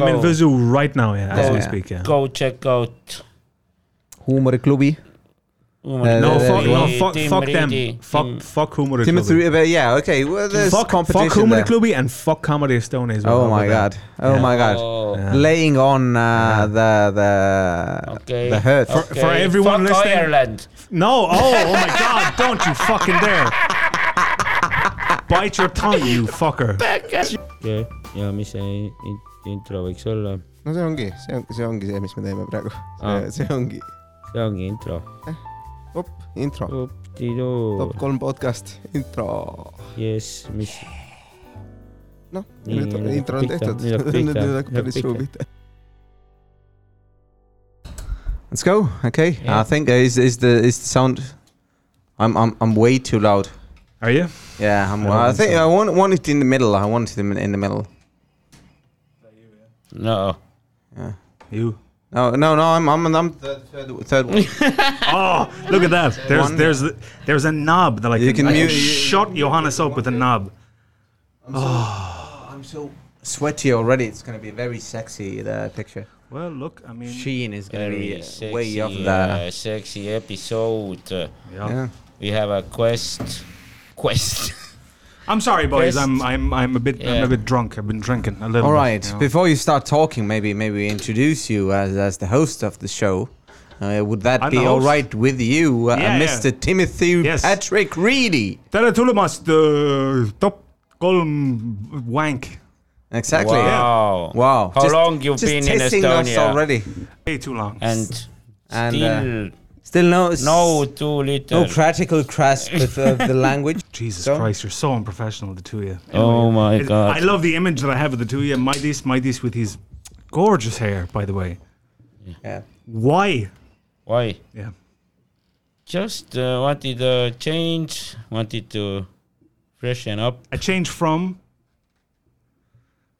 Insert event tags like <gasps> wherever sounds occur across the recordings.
I'm Oh. in Vesoul right now, yeah, as Go. we Yeah. speak, yeah. Go check out. Humorclubby. Umar No, Uh, fuck, Al-Khoury, no, fuck, Team fuck them. Reedy, Fuck, Team- fuck Humor Team Clubby. three, but yeah, okay. Well, there's Fuck, competition fuck Humor there. Clubby and fuck Comedy Stone as well. Oh my over there. god. Oh Yeah. my god. Oh, Yeah. Laying on uh, the the Okay. the hurt. For- okay. for everyone Fuck listening- Ireland. No, oh, oh my god, don't you fucking dare. Bite your tongue, you fucker. okei okay. ja mis see in- intro võiks olla ? no see ongi , see ongi , see ongi see , mis me teeme praegu . Aa. see ongi see ongi intro . op, intro , optidu top , kolm podcast intro . jess , mis noh , Nii, nüüd nüüd on- hakkab intro on pihta, tehtud . nüüd hakkab <laughs> nüüd pihta, hakkab nüüd päris hakkab show pihta. pihta . Let's go. Okay, Yeah. I think uh, is is the is the sound. I'm I'm I'm way too loud. Are you? Yeah, I'm. I don't I, think think so. I want want it in the middle. I want it in, in the middle. No. You. No, no, no. I'm I'm I'm third third, third one. Oh, look at that. There's One. there's there's a knob that I can, You can I mute- can shut Johannes up with a knob. I'm so sweaty already. It's gonna be very sexy. The picture. Well, look, I mean, Sheen is gonna Very be sexy, way off uh, the. sexy episode. Uh, yeah. yeah. We have a quest. Quest. I'm sorry, boys. Guest. I'm I'm I'm a bit I'm Yeah. a bit drunk. I've been drinking a little. All bit, right. you know. Before you start talking, maybe maybe we introduce you as as the host of the show. Uh, would that I'm be the all host. right with you, uh, Yeah, yeah. Mr. Timothy Yes. Patrick Reedy? Tere tulemast uh, top kolm wank. Exactly. Wow. Wow. How long you just been in testing us Estonia? already, Way too long. And, And, uh, still still no no too little. no practical grasp of the, the language. Jesus So? Christ, you're so unprofessional, the two of you. Oh my It- God. I love the image that I have of the two of you. Mighty's Mighty's with his gorgeous hair, by the way. Yeah. Why? Why? Yeah. Just uh, wanted a change. Wanted to freshen up A change from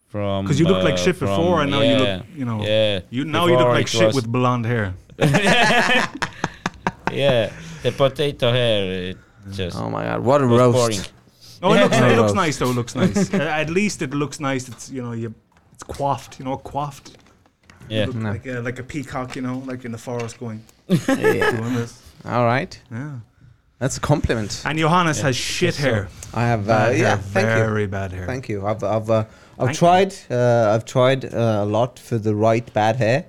from. because you looked like uh, shit from- before, and now you yeah, look, you know, Yeah. you now you look Before like it shit was- with blonde <laughs> hair. Yeah, the potato hair. It just. Oh my God! What a was roast. boring. No, it looks, Yeah. it looks nice though. It looks <laughs> nice. Uh, At least it looks nice. It's you know you, it's coiffed. You know coiffed. Yeah. Look like a, like a peacock. You know, like in the forest <laughs> going. <laughs> Yeah. doing this. All right. Yeah. That's a compliment. And Johannes has shit hair. I have. Uh, Bad hair, yeah. Thank you. very bad hair. Thank you. I've I've uh, I've Thank tried uh, I've tried uh, a lot for the right bad hair,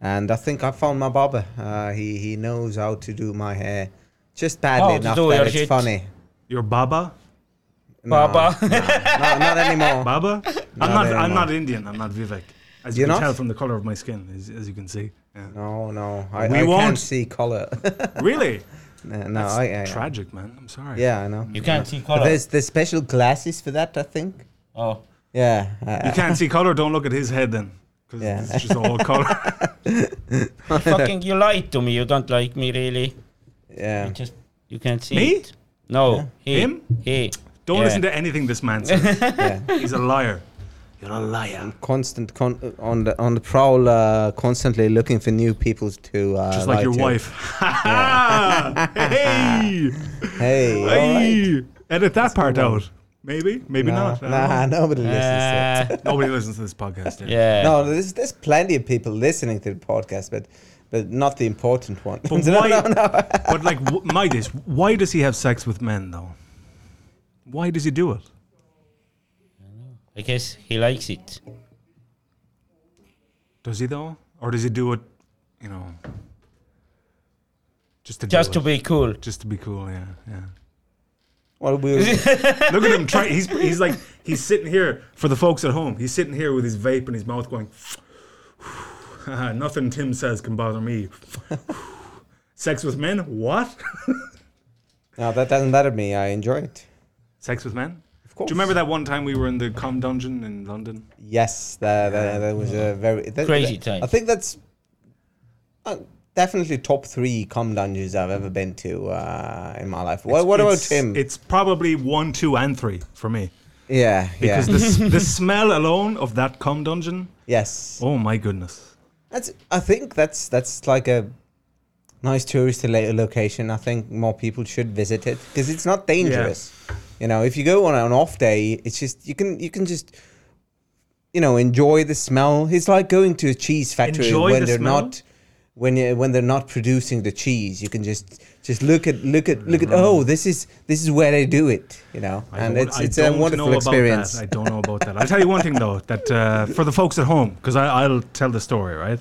and I think I found my barber. Uh, he he knows how to do my hair, just badly How to enough do that your it's shit. funny. Your baba, No, <laughs> Papa. no, <laughs> not anymore. baba. I'm No, not. no, I'm no. not Indian. I'm not Vivek. As you You're can not? tell from the color of my skin, as, as you can see. Yeah. No, no, I, We I won't. can't see color. <laughs> Really? no, no, I, I, Tragic, man. I'm sorry. Oh, yeah, I know. you can't see But color. There's there's special glasses for that, I think. oh. Yeah, uh, I- You can't see color. Don't look at his head then, because Yeah. it's just <laughs> all color. Fucking, you lied to me. You don't like me, really. yeah. You just. You can't see. Me? It. No. He. Him? He. Don't Yeah. listen to anything this man says. yeah. He's a liar. You're a liar. Constant con- on the on the prowl, uh, constantly looking for new people to uh, Just like lie your to. wife. <laughs> hey! Hey, all right. Hey! Edit that part out. Maybe, maybe Nah, not. I don't nah, know. nobody listens to it. Uh, Nobody listens to this <laughs> podcast. eh? yeah. yeah. No, there's, there's plenty of people listening to the podcast, but but not the important one. <laughs> But No, why? no, no. but like, w- Midas, why does he have sex with men though? Why does he do it? I guess he likes it. Does he though, or does he do it? You know, just to Just do to it. be cool. just to be cool. Yeah, yeah. Well, we'll <laughs> Look at him try. He's he's like he's sitting here for the folks at home. He's sitting here with his vape in his mouth, going. <sighs> Nothing Tim says can bother me. Sex with men? What? no, that doesn't matter to me. I enjoy it. Sex with men? Of course. Do you remember that one time we were in the com dungeon in London? Yes, that that, that was a very that- Crazy that- time. I think that's uh, definitely top three cum dungeons I've ever been to uh, in my life. What, what about It's- Tim? It's probably one, two, and three for me yeah, yeah, because the s- the <laughs> smell alone of that com dungeon. yes. Oh my goodness! That's. I think that's that's like a nice tourist lo- location. I think more people should visit it because it's not dangerous. You know, if you go on an off day, it's just you can you can just you know, enjoy the smell. It's like going to a cheese factory Enjoy when the they're smell? not when you- when they're not producing the cheese. You can just just look at look at look at oh this is this is where they do it. You know, I and don't- it's I it's a don't wonderful know experience. About that. I don't know about that. I'll tell you one thing though, that uh, for the folks at home, because I'll tell the story, right?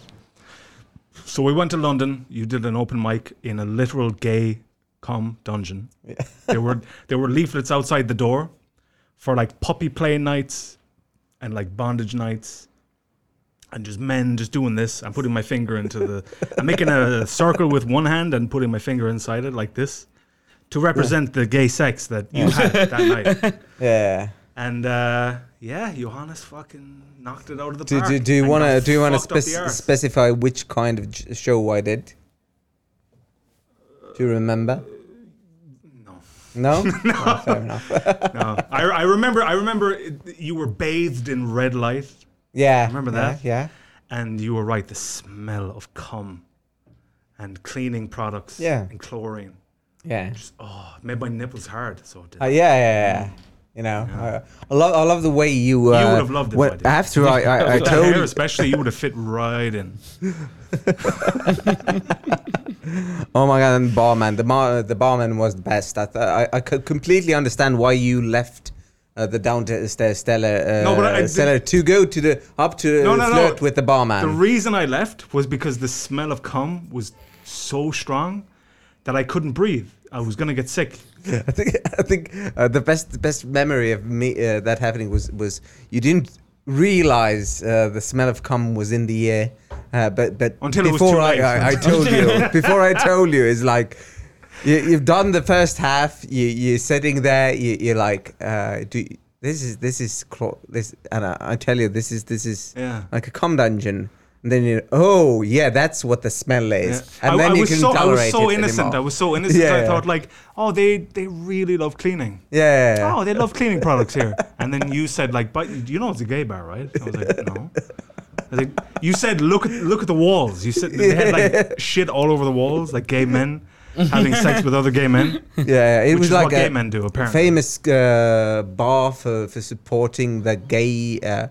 So we went to London. You did an open mic in a literal gay com dungeon. there were there were leaflets outside the door for like puppy play nights and like bondage nights. And just men just doing this. I'm putting my finger into the. I'm making a circle with one hand and putting my finger inside it like this, to represent the gay sex that you had that night. Yeah. And uh, yeah, Johannes fucking knocked it out of the Do, park. do, do you and want to got do you want to fucked up the spec- arse. specify which kind of j- show I did? Do you remember? No. <laughs> No. Oh, fair enough. no, I, I remember. I remember it- you were bathed in red light, Yeah. Remember yeah, that? Yeah. and you were right. The smell of cum and cleaning products, Yeah. and chlorine. Yeah. Oh, it made my nipples hard. So it did. Uh, yeah, yeah, yeah. You know, uh, I, I love, I love the way you. Uh, would have loved it if I What, did. I have to. I, <laughs> I, I With that told. hair, especially, you would have fit right in. Oh my god, and the barman. The bar, the barman was the best. I, th- I, I could completely understand why you left. Uh, the downstairs cellar, uh, No, but I- I cellar did- to go to the up to No, no, no. flirt with the barman. The reason I left was because the smell of cum was so strong that I couldn't breathe. I was gonna get sick. <laughs> I think I think uh, the best the best memory of me uh, that happening was was you didn't realize uh, the smell of cum was in the air, uh, but but Until it was before too I, late. I, <laughs> I told you before I told you is like. You, you've done the first half. You, you're sitting there. You, you're like, uh, do, this is this is clo- this, and I, I tell you, this is this is Yeah. like a cum dungeon. And then you, oh yeah, that's what the smell is. Yeah. And then you can so, I was tolerate so it innocent. anymore. I was so innocent. Yeah, I yeah. thought like, oh, they they really love cleaning. yeah. yeah. Oh, they love cleaning products here. And then you said like, but you know it's a gay bar, right? I was like, no. I was like, you said look at look at the walls. You said they had like shit all over the walls, like gay men having sex with other gay men. Yeah, it Which was is like what a gay men do, apparently. famous uh, bar for, for supporting the gay, uh,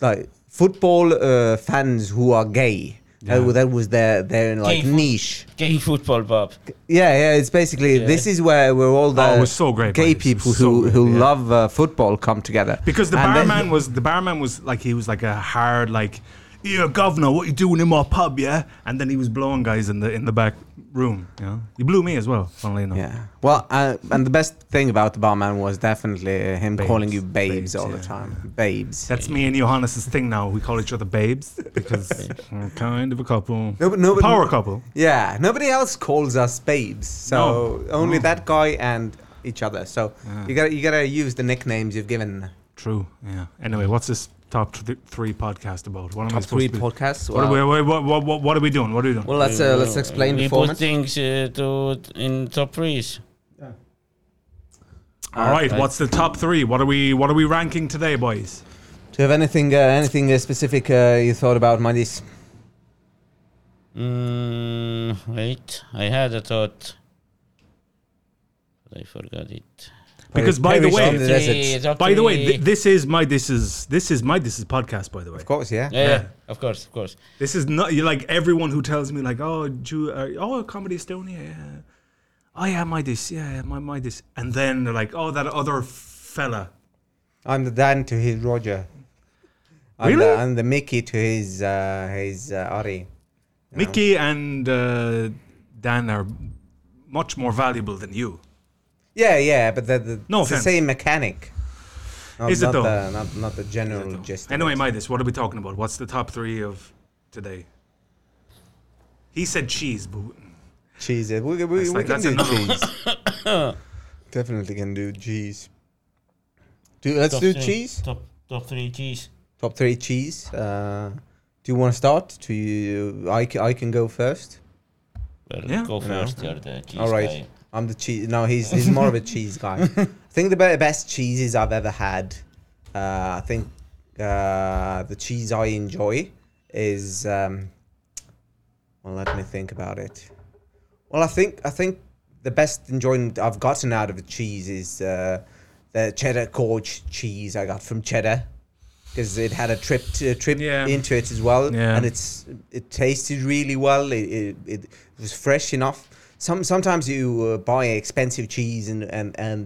like football uh, fans who are gay. That, wa- that was their their Gay like fo- niche. Gay football pub. Yeah, yeah. It's basically this is where where all the Oh, it was so great, gay man. It was people so who great, who yeah. love uh, football come together. Because the And then- barman was the barman was like he was like a hard like, yeah, governor, what you doing in my pub, yeah? And then he was blowing guys in the in the back room. You know, he blew me as well. Funnily enough. yeah. Well, uh, and the best thing about the barman was definitely him calling you babes, Babes, all the yeah, time. Babes. That's me and Johannes's thing now. We call each other babes because we're kind of a couple. No, but- no, A but- power couple. Yeah, nobody else calls us babes. So only that guy and each other. So you gotta you gotta use the nicknames you've given. True. Yeah. Anyway, what's this top th- three podcast about? What am I supposed Three to be? podcasts. what, are we, what, what, what, what, what are we doing? What are we doing? well, let's uh, let's explain we the format. put things uh, to in top threes. All right. okay. What's the top three? What are we What are we ranking today, boys? Do you have anything uh, anything uh, specific uh, you thought about Mandis? Mm, wait, I had a thought, but I forgot it. Because by the Perish way, on Top the desert. three, top By the way, three. th- this is my this is this is my this is podcast. By the way, Of course, yeah. yeah, yeah, of course, of course. this is not you like everyone who tells me like oh Jew, uh, oh comedy Estonia, yeah. oh yeah my this yeah yeah, my my this, and then they're like oh that other fella. I'm the Dan to his Roger. I'm Really? The, I'm the Mickey to his uh, his uh, Ari. Mickey and uh, Dan are much more valuable than you. Yeah, yeah, but the, the No it's the offense. same mechanic. Not, Is it not though? The, not not the general gist. of Anyway, it. my this, what are we talking about? What's the top three of today? He said cheese, but cheese. We, we, we That's like- can that's do another cheese. <coughs> Definitely can do cheese. Do let's Top do three, cheese. Top top three cheese. Top three cheese. Uh, do you want to start? To you, I, ca- I can go first. Well, Yeah. go first. You're the cheese All right. guy. I'm the cheese. No, he's he's more of a cheese guy. I think the be- best cheeses I've ever had. Uh, I think uh, the cheese I enjoy is. Um, well, let me think about it. Well, I think I think the best enjoyment I've gotten out of a cheese is uh, the cheddar gorge cheese I got from Cheddar. because it had a trip to, a trip Yeah. into it as well, Yeah. and it's it tasted really well. It, it, it was fresh enough. Some sometimes you uh, buy expensive cheese and and and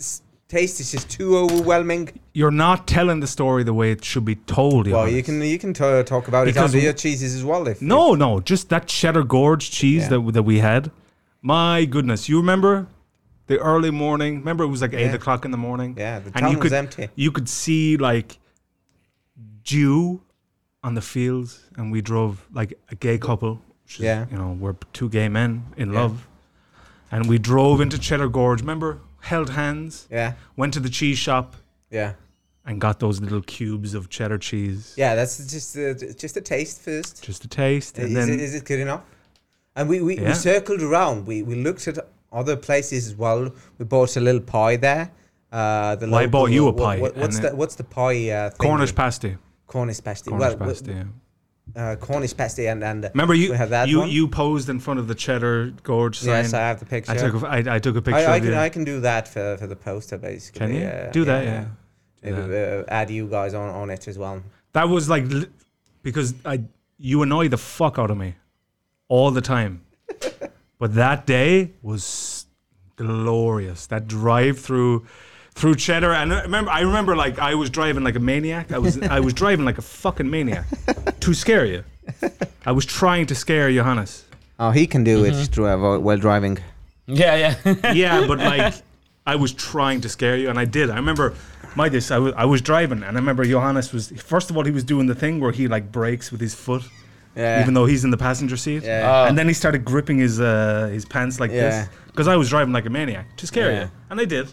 s- taste is just too overwhelming. You're not telling the story the way it should be told. Well, Johannes. you can you can t- talk about it Because under w- your cheeses as well. If No, no, just that cheddar gorge cheese Yeah. that that we had. My goodness, you remember the early morning? Remember it was like eight Yeah. o'clock in the morning. Yeah, the and town you was could, empty. You could see like dew on the fields, and we drove like a gay couple. Which is, Yeah. you know we're two gay men in love, and we drove into Cheddar Gorge. Remember, held hands, yeah, went to the cheese shop, yeah, and got those little cubes of cheddar cheese. yeah. That's just uh, just a taste first. Just a taste, and Is, then it, is it good enough? And we, we, we Yeah. circled around. We, we looked at other places as well. We bought a little pie there. Uh, the Well, I local- bought you a what- pie, what- what's and the what's the pie? Uh, thing? Cornish pasty. Cornish pasty. Cornish well, pasty. w- yeah. Uh, Cornish pasty and and uh, Remember you we had that you one. you posed in front of the Cheddar Gorge sign. yes, I have the picture. I took a, I, I took a picture I, I of can you. I can do that for, for the poster basically. Can you uh, do that? Yeah. Do Maybe, uh, add you guys on, on it as well. That was like li- because I you annoy the fuck out of me all the <laughs> time. but that day was glorious. That drive through through Cheddar and I remember I remember like I was driving like a maniac. I was I was driving like a fucking <laughs> maniac to scare you. I was trying to scare Johannes. Oh, he can do it uh, while driving. Yeah, <laughs> yeah. yeah, but like I was trying to scare you, and I did. I remember my this. I was I was driving, and I remember Johannes was first of all he was doing the thing where he like brakes with his foot, Yeah. even though he's in the passenger seat. Yeah. And then he started gripping his uh, his pants like Yeah. this because I was driving like a maniac to scare Yeah. you, and I did.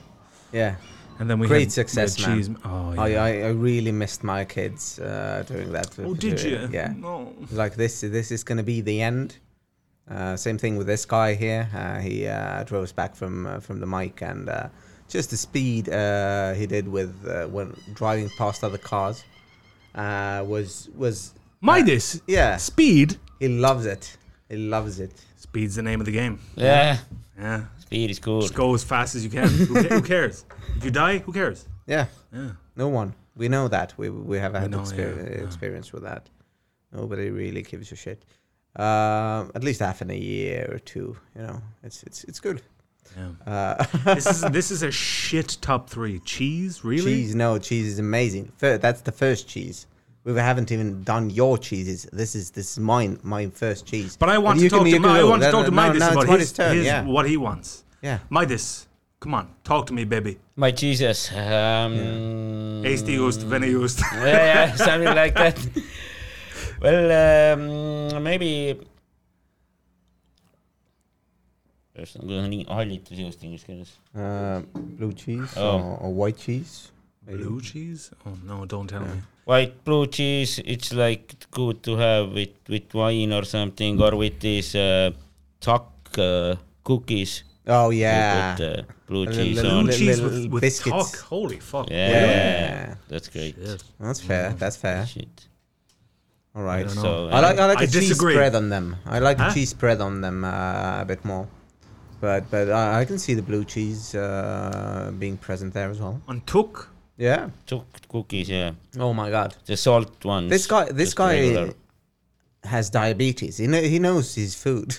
yeah. And then we Great had, we had success, man. cheese. Oh yeah. I, I, I really missed my kids uh, doing that. Oh, did you? Yeah. No. Like this, this is going to be the end. Uh, same thing with this guy here. Uh, he uh, drove us back from uh, from the mic, and uh, just the speed uh, he did with uh, when driving past other cars uh, was was My this. yeah. Speed. He loves it. He loves it. Speed's the name of the game. yeah. Yeah. Speed is cool. Just go as fast as you can. who, ca- who cares? If you die, who cares? Yeah. Yeah. No one. We know that. We we have had know, yeah, exper- yeah. experience with that. Nobody really gives a shit. Um, at least half in a year or two. You know, it's it's it's good. Yeah. Uh, <laughs> this is this is a shit top three. Cheese, really? cheese, no cheese is amazing. Fir- that's the first cheese. We haven't even done your cheeses. This is this is mine, my first cheese. But I want to you talk can- to you Ma- can I go. want to No, talk to uh, no, Midas no, it's about Midas' his, turn, his- yeah. what he wants. Yeah. Midas, come on, talk to me, baby. My Jesus. Um, Mm. Ace the Oost, Vene <laughs> Oost. yeah, yeah, something like that. Well, um, maybe. There's not going to be highlight those things, guys. Uh, blue cheese Oh. or, or white cheese. maybe. Blue cheese? Oh no, don't tell me. White blue cheese, it's like good to have with, with wine or something, or with these uh, tuck uh, cookies. Oh You yeah. put, uh, blue A cheese little- Blue on. li- cheese little with, with biscuits. talk. Holy fuck. Yeah, Yeah. that's great. Shit. That's fair. That's fair. Shit. All right. don't know. So, I like I like I a cheese disagree. spread on them. I like Huh? the cheese spread on them uh, a bit more, but but I, I can see the blue cheese uh, being present there as well. On took. Yeah. tuck cookies, yeah. Oh my God. The salt ones. This guy. This just guy regular. has diabetes. He know, he knows his food.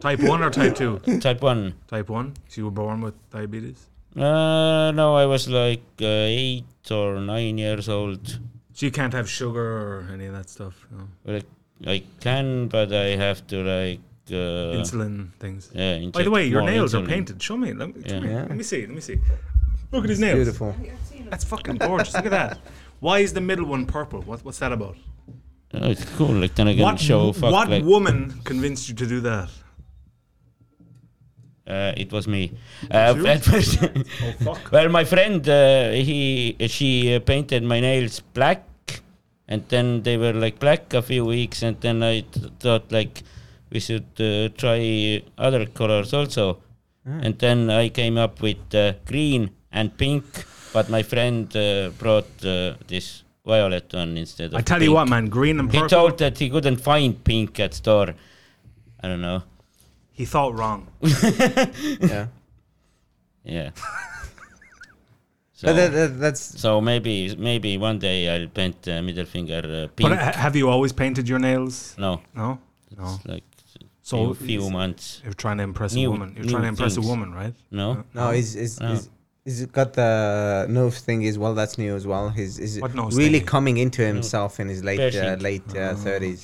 Type one or type <laughs> two? Type 1. type one. So you were born with diabetes. Uh, no, I was like uh, eight or nine years old. So you can't have sugar or any of that stuff. you know? Like I can, but I have to like uh, Insulin things. By yeah. inject the way, your more nails are insulin. painted. Show me. Let me, Yeah. show me. Yeah. Let me see. Let me see. Look at his nails. <laughs> <laughs> Beautiful. That's fucking gorgeous. Look at that. Why is the middle one purple? What, what's that about? Oh, it's cool. Like then I can What, show. Fuck, what like, woman convinced you to do that? uh, it was me. Uh, You? at <laughs> first- Oh, fuck. well, my friend, uh, he she uh, painted my nails black, and then they were like black a few weeks, and then I th- thought like we should uh, try other colors also, Ah. and then I came up with uh, green and pink, but my friend uh, brought uh, this violet one instead of. I tell you pink. what, man, green and He purple. told that he couldn't find pink at store. I don't know. He thought wrong. <laughs> Yeah. Yeah. So, But that, that, that's so maybe maybe one day I'll paint uh, middle finger uh, pink. But ha- have you always painted your nails? no, No, no. it's like Oh. So few, few is- months. you're trying to impress a New- woman. You're new trying to impress a things. woman, <laughs> right? No, no. He's he's, No. he's he's got the nose thing as well. That's new as well. He's, he's What nose really thingy? coming into himself in his late uh, Piercing. late Oh, uh, 30s.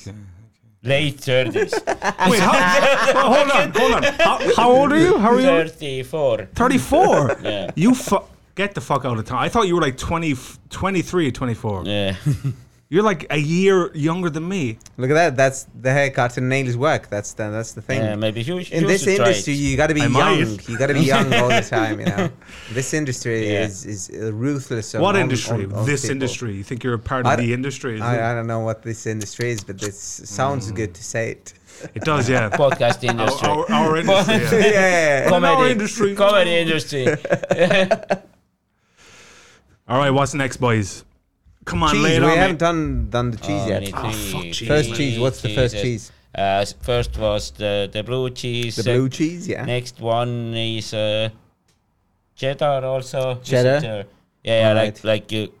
late thirties. Wait, <laughs> how, oh, hold on, hold on. How, how old are you? <laughs> How are you? <laughs> Thirty-four. 34. Yeah. You fu- get the fuck out of town. I thought you were like 20, 23, 24. Yeah. You're like a year younger than me. Look at that. That's the haircut and nails work. That's the that's the thing. <laughs> yeah, Uh, maybe you, sh- in you this should try industry, it. you got to be I might. young. You got to be young all <laughs> the time. You know, this industry Yeah. is is ruthless. on- What on- industry? on- on this people. industry. You think you're a part I of d- the industry? I, I don't know what this industry is, but this Mm. sounds good to say <laughs> it. <laughs> it does, <laughs> yeah. podcast our, industry. our, our industry. yeah, yeah. <laughs> yeah, yeah. Well, in our comedy industry. Comedy <laughs> industry. All right, what's next, boys? Come on, cheese. lay it we on haven't me. done done the cheese yet. Ah, fuck, cheese. First cheese. What's the first cheese? Uh, s- first was the, the blue cheese. The sec- blue cheese. Yeah. <laughs> Next one is uh, cheddar also. Is it, Cheddar? uh, Yeah, yeah like Alright. like you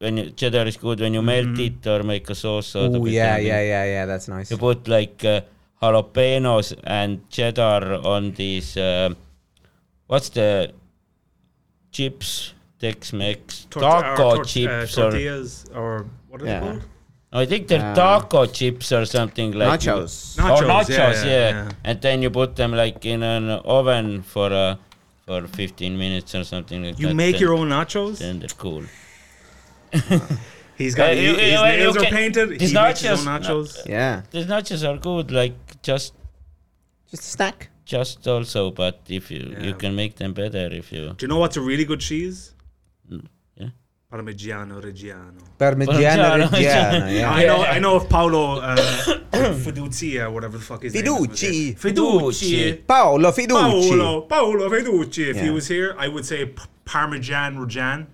when you, cheddar is good when you melt it or make a sauce. out of Oh it, yeah, I mean. yeah, yeah, yeah. That's nice. You put like uh, jalapenos and cheddar on these. um what's the chips? Tex-Mex uh, taco chips or tortillas or what are they Yeah. they called? called? I think they're Uh, taco chips or something like Nachos. Or Oh, Nachos, nachos, yeah, yeah, yeah, yeah. And then you put them like in an oven for uh, for 15 minutes or something like that. You make then- your own nachos? Then they're cool. He's Uh, got he- you- his you- you nails are can- painted. these He makes his nachos- own nachos. Yeah. These nachos are good, like just Just a snack. just also, but if you you Yeah. can make them better if you. Do you know what's a really good cheese? Mm, yeah. Parmigiano <laughs> Reggiano. Parmigiano Parmigiano Reggiano. <laughs> Reggiano. Yeah. I know. I know of Paolo uh, <coughs> Fiducia, whatever the fuck his Fiduci. name is. Fiduci. Fiduci. Paolo Fiducci. Paolo. Paolo Fiduci. If he Yeah. was here, I would say P- Parmigian Reggiano.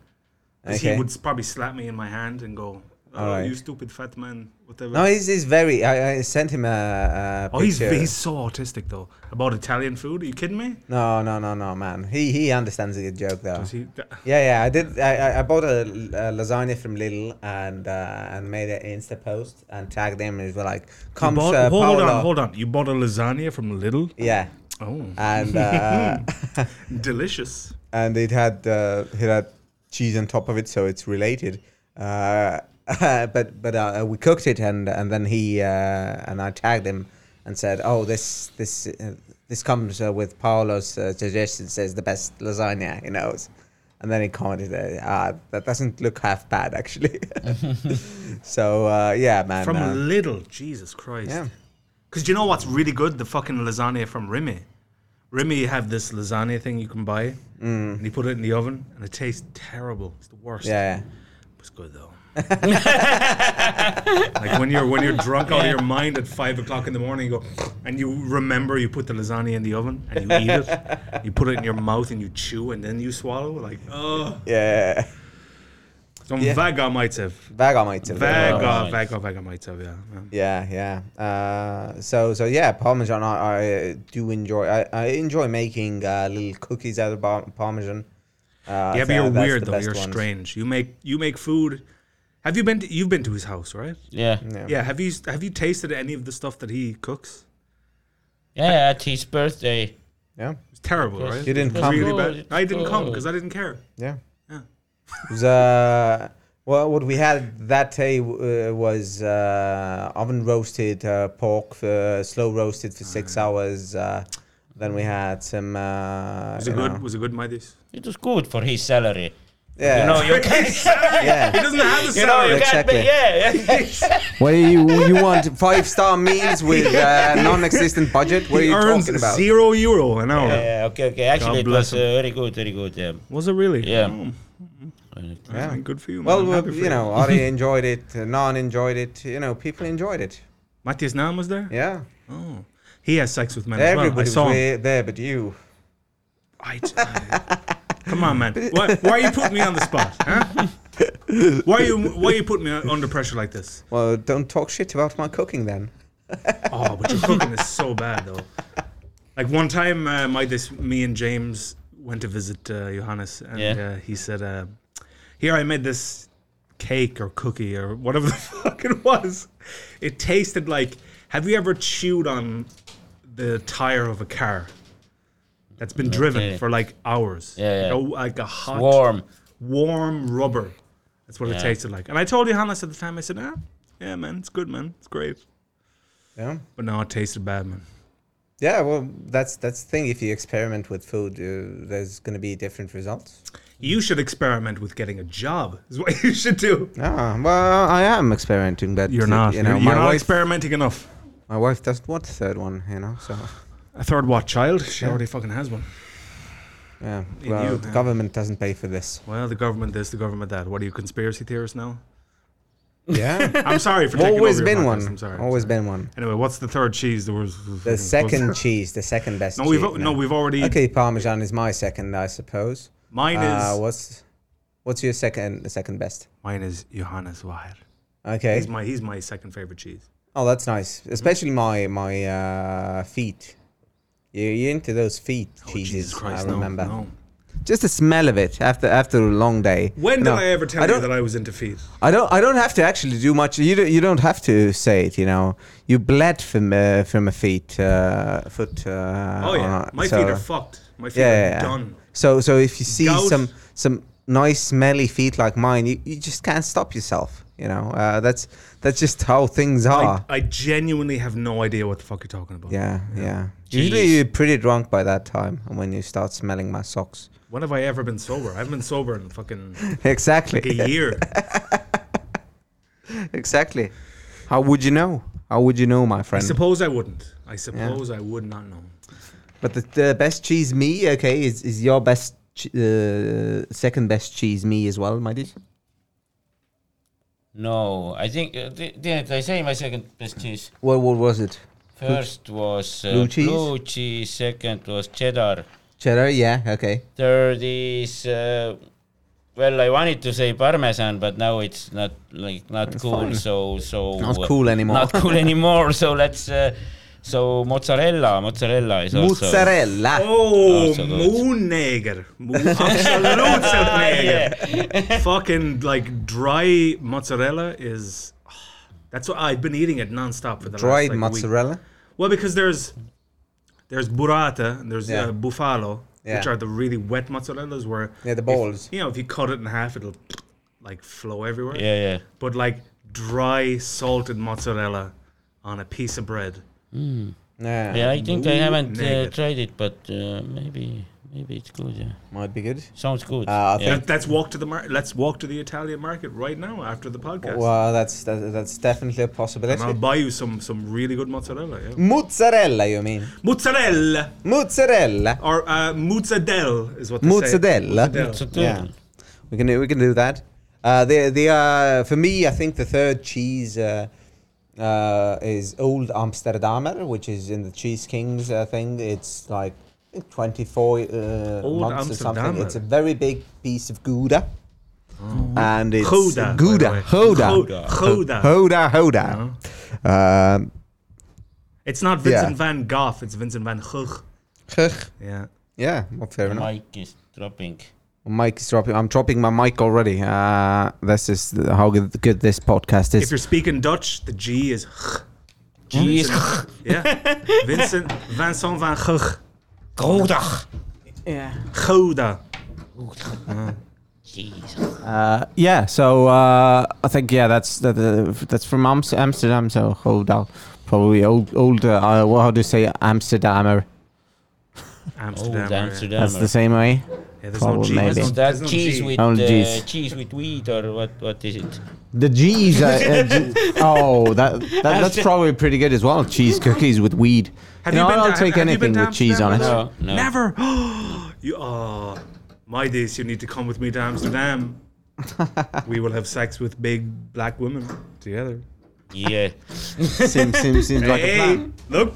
'cause Okay. He would s- probably slap me in my hand and go, oh, Alright. "You stupid fat man." Whatever. No, he's, he's very. I, I sent him a. a oh, he's picture. he's so autistic though about Italian food. Are you kidding me? No, no, no, no, man. He he understands a good joke though. Is he- Yeah, yeah. I did. I, I- I bought a, a lasagna from Lidl and uh, and made an Insta post and tagged them and it was like, You "Come, bought- Sir hold uh, Paolo." on, hold on. You bought a lasagna from Lidl. Yeah, Oh, <laughs> and uh, <laughs> delicious. and it had uh, it had cheese on top of it, so it's related. Uh, <laughs> but but uh, we cooked it and and then he uh, and I tagged him and said, "Oh, this this." Uh, this comes uh, with Paolo's uh, suggestion. Says the best lasagna he knows, and then he commented, uh, "Ah, that doesn't look half bad actually." <laughs> so uh, yeah, man. From uh, Lidl, Jesus Christ. yeah. Because you know what's really good? The fucking lasagna from Remy. Remy have this lasagna thing you can buy, and you put it in the oven, and it tastes terrible. It's the worst. Mm. yeah, It's good though. <laughs> like when you're when you're drunk out of your mind at five o'clock in the morning, you go and you remember you put the lasagna in the oven and you <laughs> eat it. You put it in your mouth and you chew and then you swallow. Like oh, yeah, some Yeah. vaga might have. Vaga might have- Vaga, Vaga. vaga, vaga might have. Yeah. yeah. Yeah, yeah. Uh, so, so yeah, parmesan. I, I do enjoy. I, I enjoy making uh, little cookies out of par- parmesan. Uh, Yeah, so but you're that's weird the though. best You're ones. strange. You make you make food. Have you been? To, you've been to his house, right? Yeah. Yeah. Yeah. Have you have you tasted any of the stuff that he cooks? Yeah, at his birthday. Yeah, It's terrible, Yes. right? You didn't It's come. Really Oh, bad. it's I didn't come good. because I didn't care. yeah. Yeah. It was, uh, well, what we had that day uh, was uh, oven roasted uh, pork, for, slow roasted for six Ah. hours. Uh, then we had some. Uh, Was it you good? know- Was it good, Mighties? It was good for his salary. Yeah. You know, <laughs> you can yeah. He <laughs> doesn't have a you know, you salary. Exactly. can't, yeah, yeah. <laughs> What do you you want five star meals with uh, non-existent budget? What are he you earns talking about? zero euro an hour. Yeah, okay, okay. Actually, it bless was uh, very good, very good. Yeah. Was it really? Yeah. Oh, Yeah. Good for you. Well, man. well, Happy for you know, Ari enjoyed it. uh, Nan enjoyed it. You know, people enjoyed it. Matthias Nam was there. Yeah, Oh, he has sex with men as well. I everybody saw was him. there, there, but you. I, <laughs> come on, man. Why, why are you putting me on the spot? Huh? Why are you Why are you putting me under pressure like this? Well, don't talk shit about my cooking then. Oh, but your cooking is so bad, though. Like one time, uh, my this me and James went to visit uh, Johannes, and Yeah. uh, he said, uh, Here I made this cake or cookie or whatever the <laughs> fuck it was. It tasted like. Have you ever chewed on the tire of a car that's been driven Okay. for like hours? Yeah, Like, yeah. a, like a hot, warm. warm rubber. That's what Yeah. it tasted like. And I told Johannes at the time. I said, "Ah, yeah, man, it's good, man, it's great." Yeah. But no, it tasted bad, man. Yeah, well, that's that's the thing. If you experiment with food, uh, there's going to be different results. You should experiment with getting a job. Is what <laughs> you should do. Ah, well, I am experimenting, but uh, You're not. You know, you're my you're not wife, experimenting enough. my wife doesn't want the third one. You know, so A third what child? She already fucking has one. yeah. In Well, you, the yeah. government doesn't pay for this. Well, the government this, the government that. What are you conspiracy theorists now? <laughs> Yeah, I'm sorry <laughs> for taking always over been your podcast, one. I'm sorry. I'm Always sorry. been one. Anyway, what's the third cheese? There was was- The was- second cheese, the second best. No, we've cheese, no, we've already. Okay, Parmesan is my second, I suppose. Mine is Uh, what's what's your second? The second best. mine is Johannes Weyer. Okay. He's my he's my second favorite cheese. Oh, that's nice. Especially my my uh, feet. You you into those feet Oh, cheeses? Jesus Christ! I remember. No, no. Just the smell of it after after a long day. When No, did I ever tell don't, you that I was in defeat? I don't. I don't have to actually do much. You don't, you don't have to say it. You know, you bled from uh, from a feet uh, foot. Uh, oh yeah, on- my so, feet are fucked. My feet yeah, are yeah, yeah. done. So so if you see Gout. some some nice smelly feet like mine, you, you just can't stop yourself. You know, uh, that's that's just how things are. I, I genuinely have no idea what the fuck you're talking about. Uh-uh. Yeah, yeah. Jeez. Usually you're pretty drunk by that time, and when you start smelling my socks. When have I ever been sober? I haven't been sober in <laughs> fucking <laughs> exactly. like a year. <laughs> exactly. How would you know? How would you know, my I friend? suppose I wouldn't. I suppose I would not know. but the, the best cheese me, okay, is, is your best, che- uh, second best cheese me as well, my dude. No, I think uh, di- didn't I say my second best cheese? What what was it? First was uh, Blue cheese? blue cheese. Second was cheddar. Cheddar, yeah, okay. Third is uh, well, I wanted to say parmesan, but now it's not like not It's cool. fine. So so uh, Not cool anymore. Not <laughs> cool anymore. So let's uh, so mozzarella. Mozzarella is uh, also Mozzarella. Oh, so good. Moonnager. Mo- <laughs> Absolute Nager. Yeah. Fucking like dry mozzarella is. <sighs> That's what I've been eating it nonstop for the last like, Dried week. mozzarella. Well, because there's there's burrata and there's Yeah. uh, bufalo, which Yeah. are the really wet mozzarellas where Yeah, the if- balls. you know, if you cut it in half, it'll like flow everywhere. yeah, yeah. But like dry salted mozzarella on a piece of bread. Yeah, Yeah, I think I Blue haven't uh, naked. tried it, but uh, maybe maybe it's good. Yeah, might be good. sounds good. Uh, I yeah. Let, let's walk to the mar- let's walk to the Italian market right now after the podcast. Well, that's that, that's definitely a And I'll possibility. buy you some some really good mozzarella. Yeah. Mozzarella, you mean? Mozzarella Mozzarella. or uh, mozzadel is what they Mozzadella. say. It's a Mozzadel. good Yeah, one. we can do, we can do that. Uh, the the uh, for me, I think the third cheese uh, uh, is Old Amsterdamer, which is in the Cheese Kings uh, thing. It's like twenty four uh, Old months or something. Amsterdamer. Mm-hmm. It's a very big piece of Gouda, and it's Gouda, by the way. Gouda, Hoda, Gouda. Gouda. Hoda, Hoda. Um, It's not Vincent Yeah. van Gogh. It's Vincent van Gogh. Yeah. yeah, well, fair The enough. mic is dropping. Mic is dropping. I'm dropping my mic already. Uh, this is th- how good, good this podcast If is. you're speaking Dutch, the G is. G. Jeez, Yeah. Vincent Vincent van Gogh. Kodak. Gouda. Jeez. Uh, yeah. So uh, I think yeah, that's that, uh, that's from Ams- Amsterdam. So hold on, probably old old. Uh, uh, well, how do you say Amsterdamer? Old Amsterdam. yeah. Amsterdam. That's the same way. Yeah, there's no Probably G. There's maybe. no, Is that there's no cheese G. with Only uh, cheese. cheese with wheat or what? What is it? The G's. Are, <laughs> uh, G- oh, that, that that's probably pretty good as well. Cheese cookies with weed. Have you you know, been I'll to- take have you been anything to with cheese on it. Amsterdam? No, no. Never. <gasps> you are. my days, you need to come with me to Amsterdam. we will have sex with big black women together. Yeah. <laughs> Seems seems, seems like a hey, plan. look.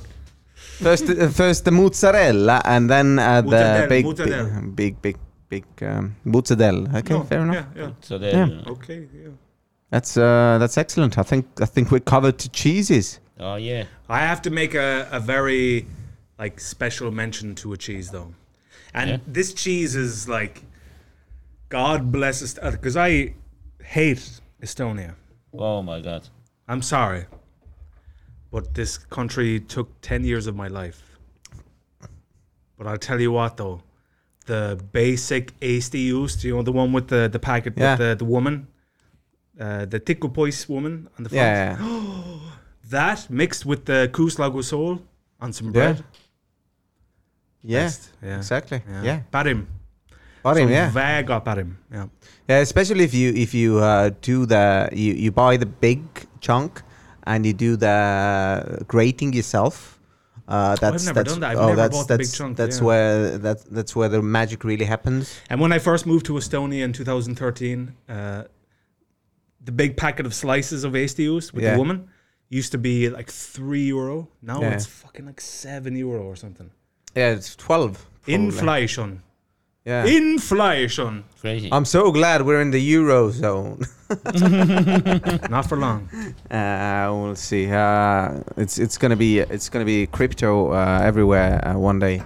First, uh, first the mozzarella, and then uh, the Mozzarella, big, mozzarella. big, big, big, big um, mozzarella. Okay, No, fair enough. Yeah, yeah. So uh, there. Yeah. Okay, yeah. That's uh, that's excellent. I think I think we're covered to cheeses. Oh yeah. I have to make a, a very like special mention to a cheese though. And Yeah. this cheese is like God bless us. Because I hate Estonia. Oh my god. I'm sorry. But this country took 10 years of my life. But I'll tell you what, though. The basic ace they used, you know, the one with the, the packet with Yeah. the, the woman, uh, the Tikopois woman on the front. Yeah, yeah. That mixed with the Kous Lago Soul on some bread. yeah. Best, yeah. Exactly. Yeah. Parim. Got him, Some yeah. Vega parim. Yeah. Yeah, especially if you if you uh, do the you, you buy the big chunk and you do the grating yourself. Uh, that's never that's done that. I've oh never that's bought the big that's chunk, that's yeah. where that that's where the magic really happens. And when I first moved to Estonia in 2013, uh, the big packet of slices of Astius with Yeah. the woman used to be like three euro. Now Yeah. it's fucking like seven euro or something. Yeah, it's twelve. probably. Inflation. Yeah. Inflation. Crazy. I'm so glad we're in the euro zone. Not for long. <laughs> Uh, we'll see. Uh, it's it's gonna be it's gonna be crypto uh, everywhere uh, one day.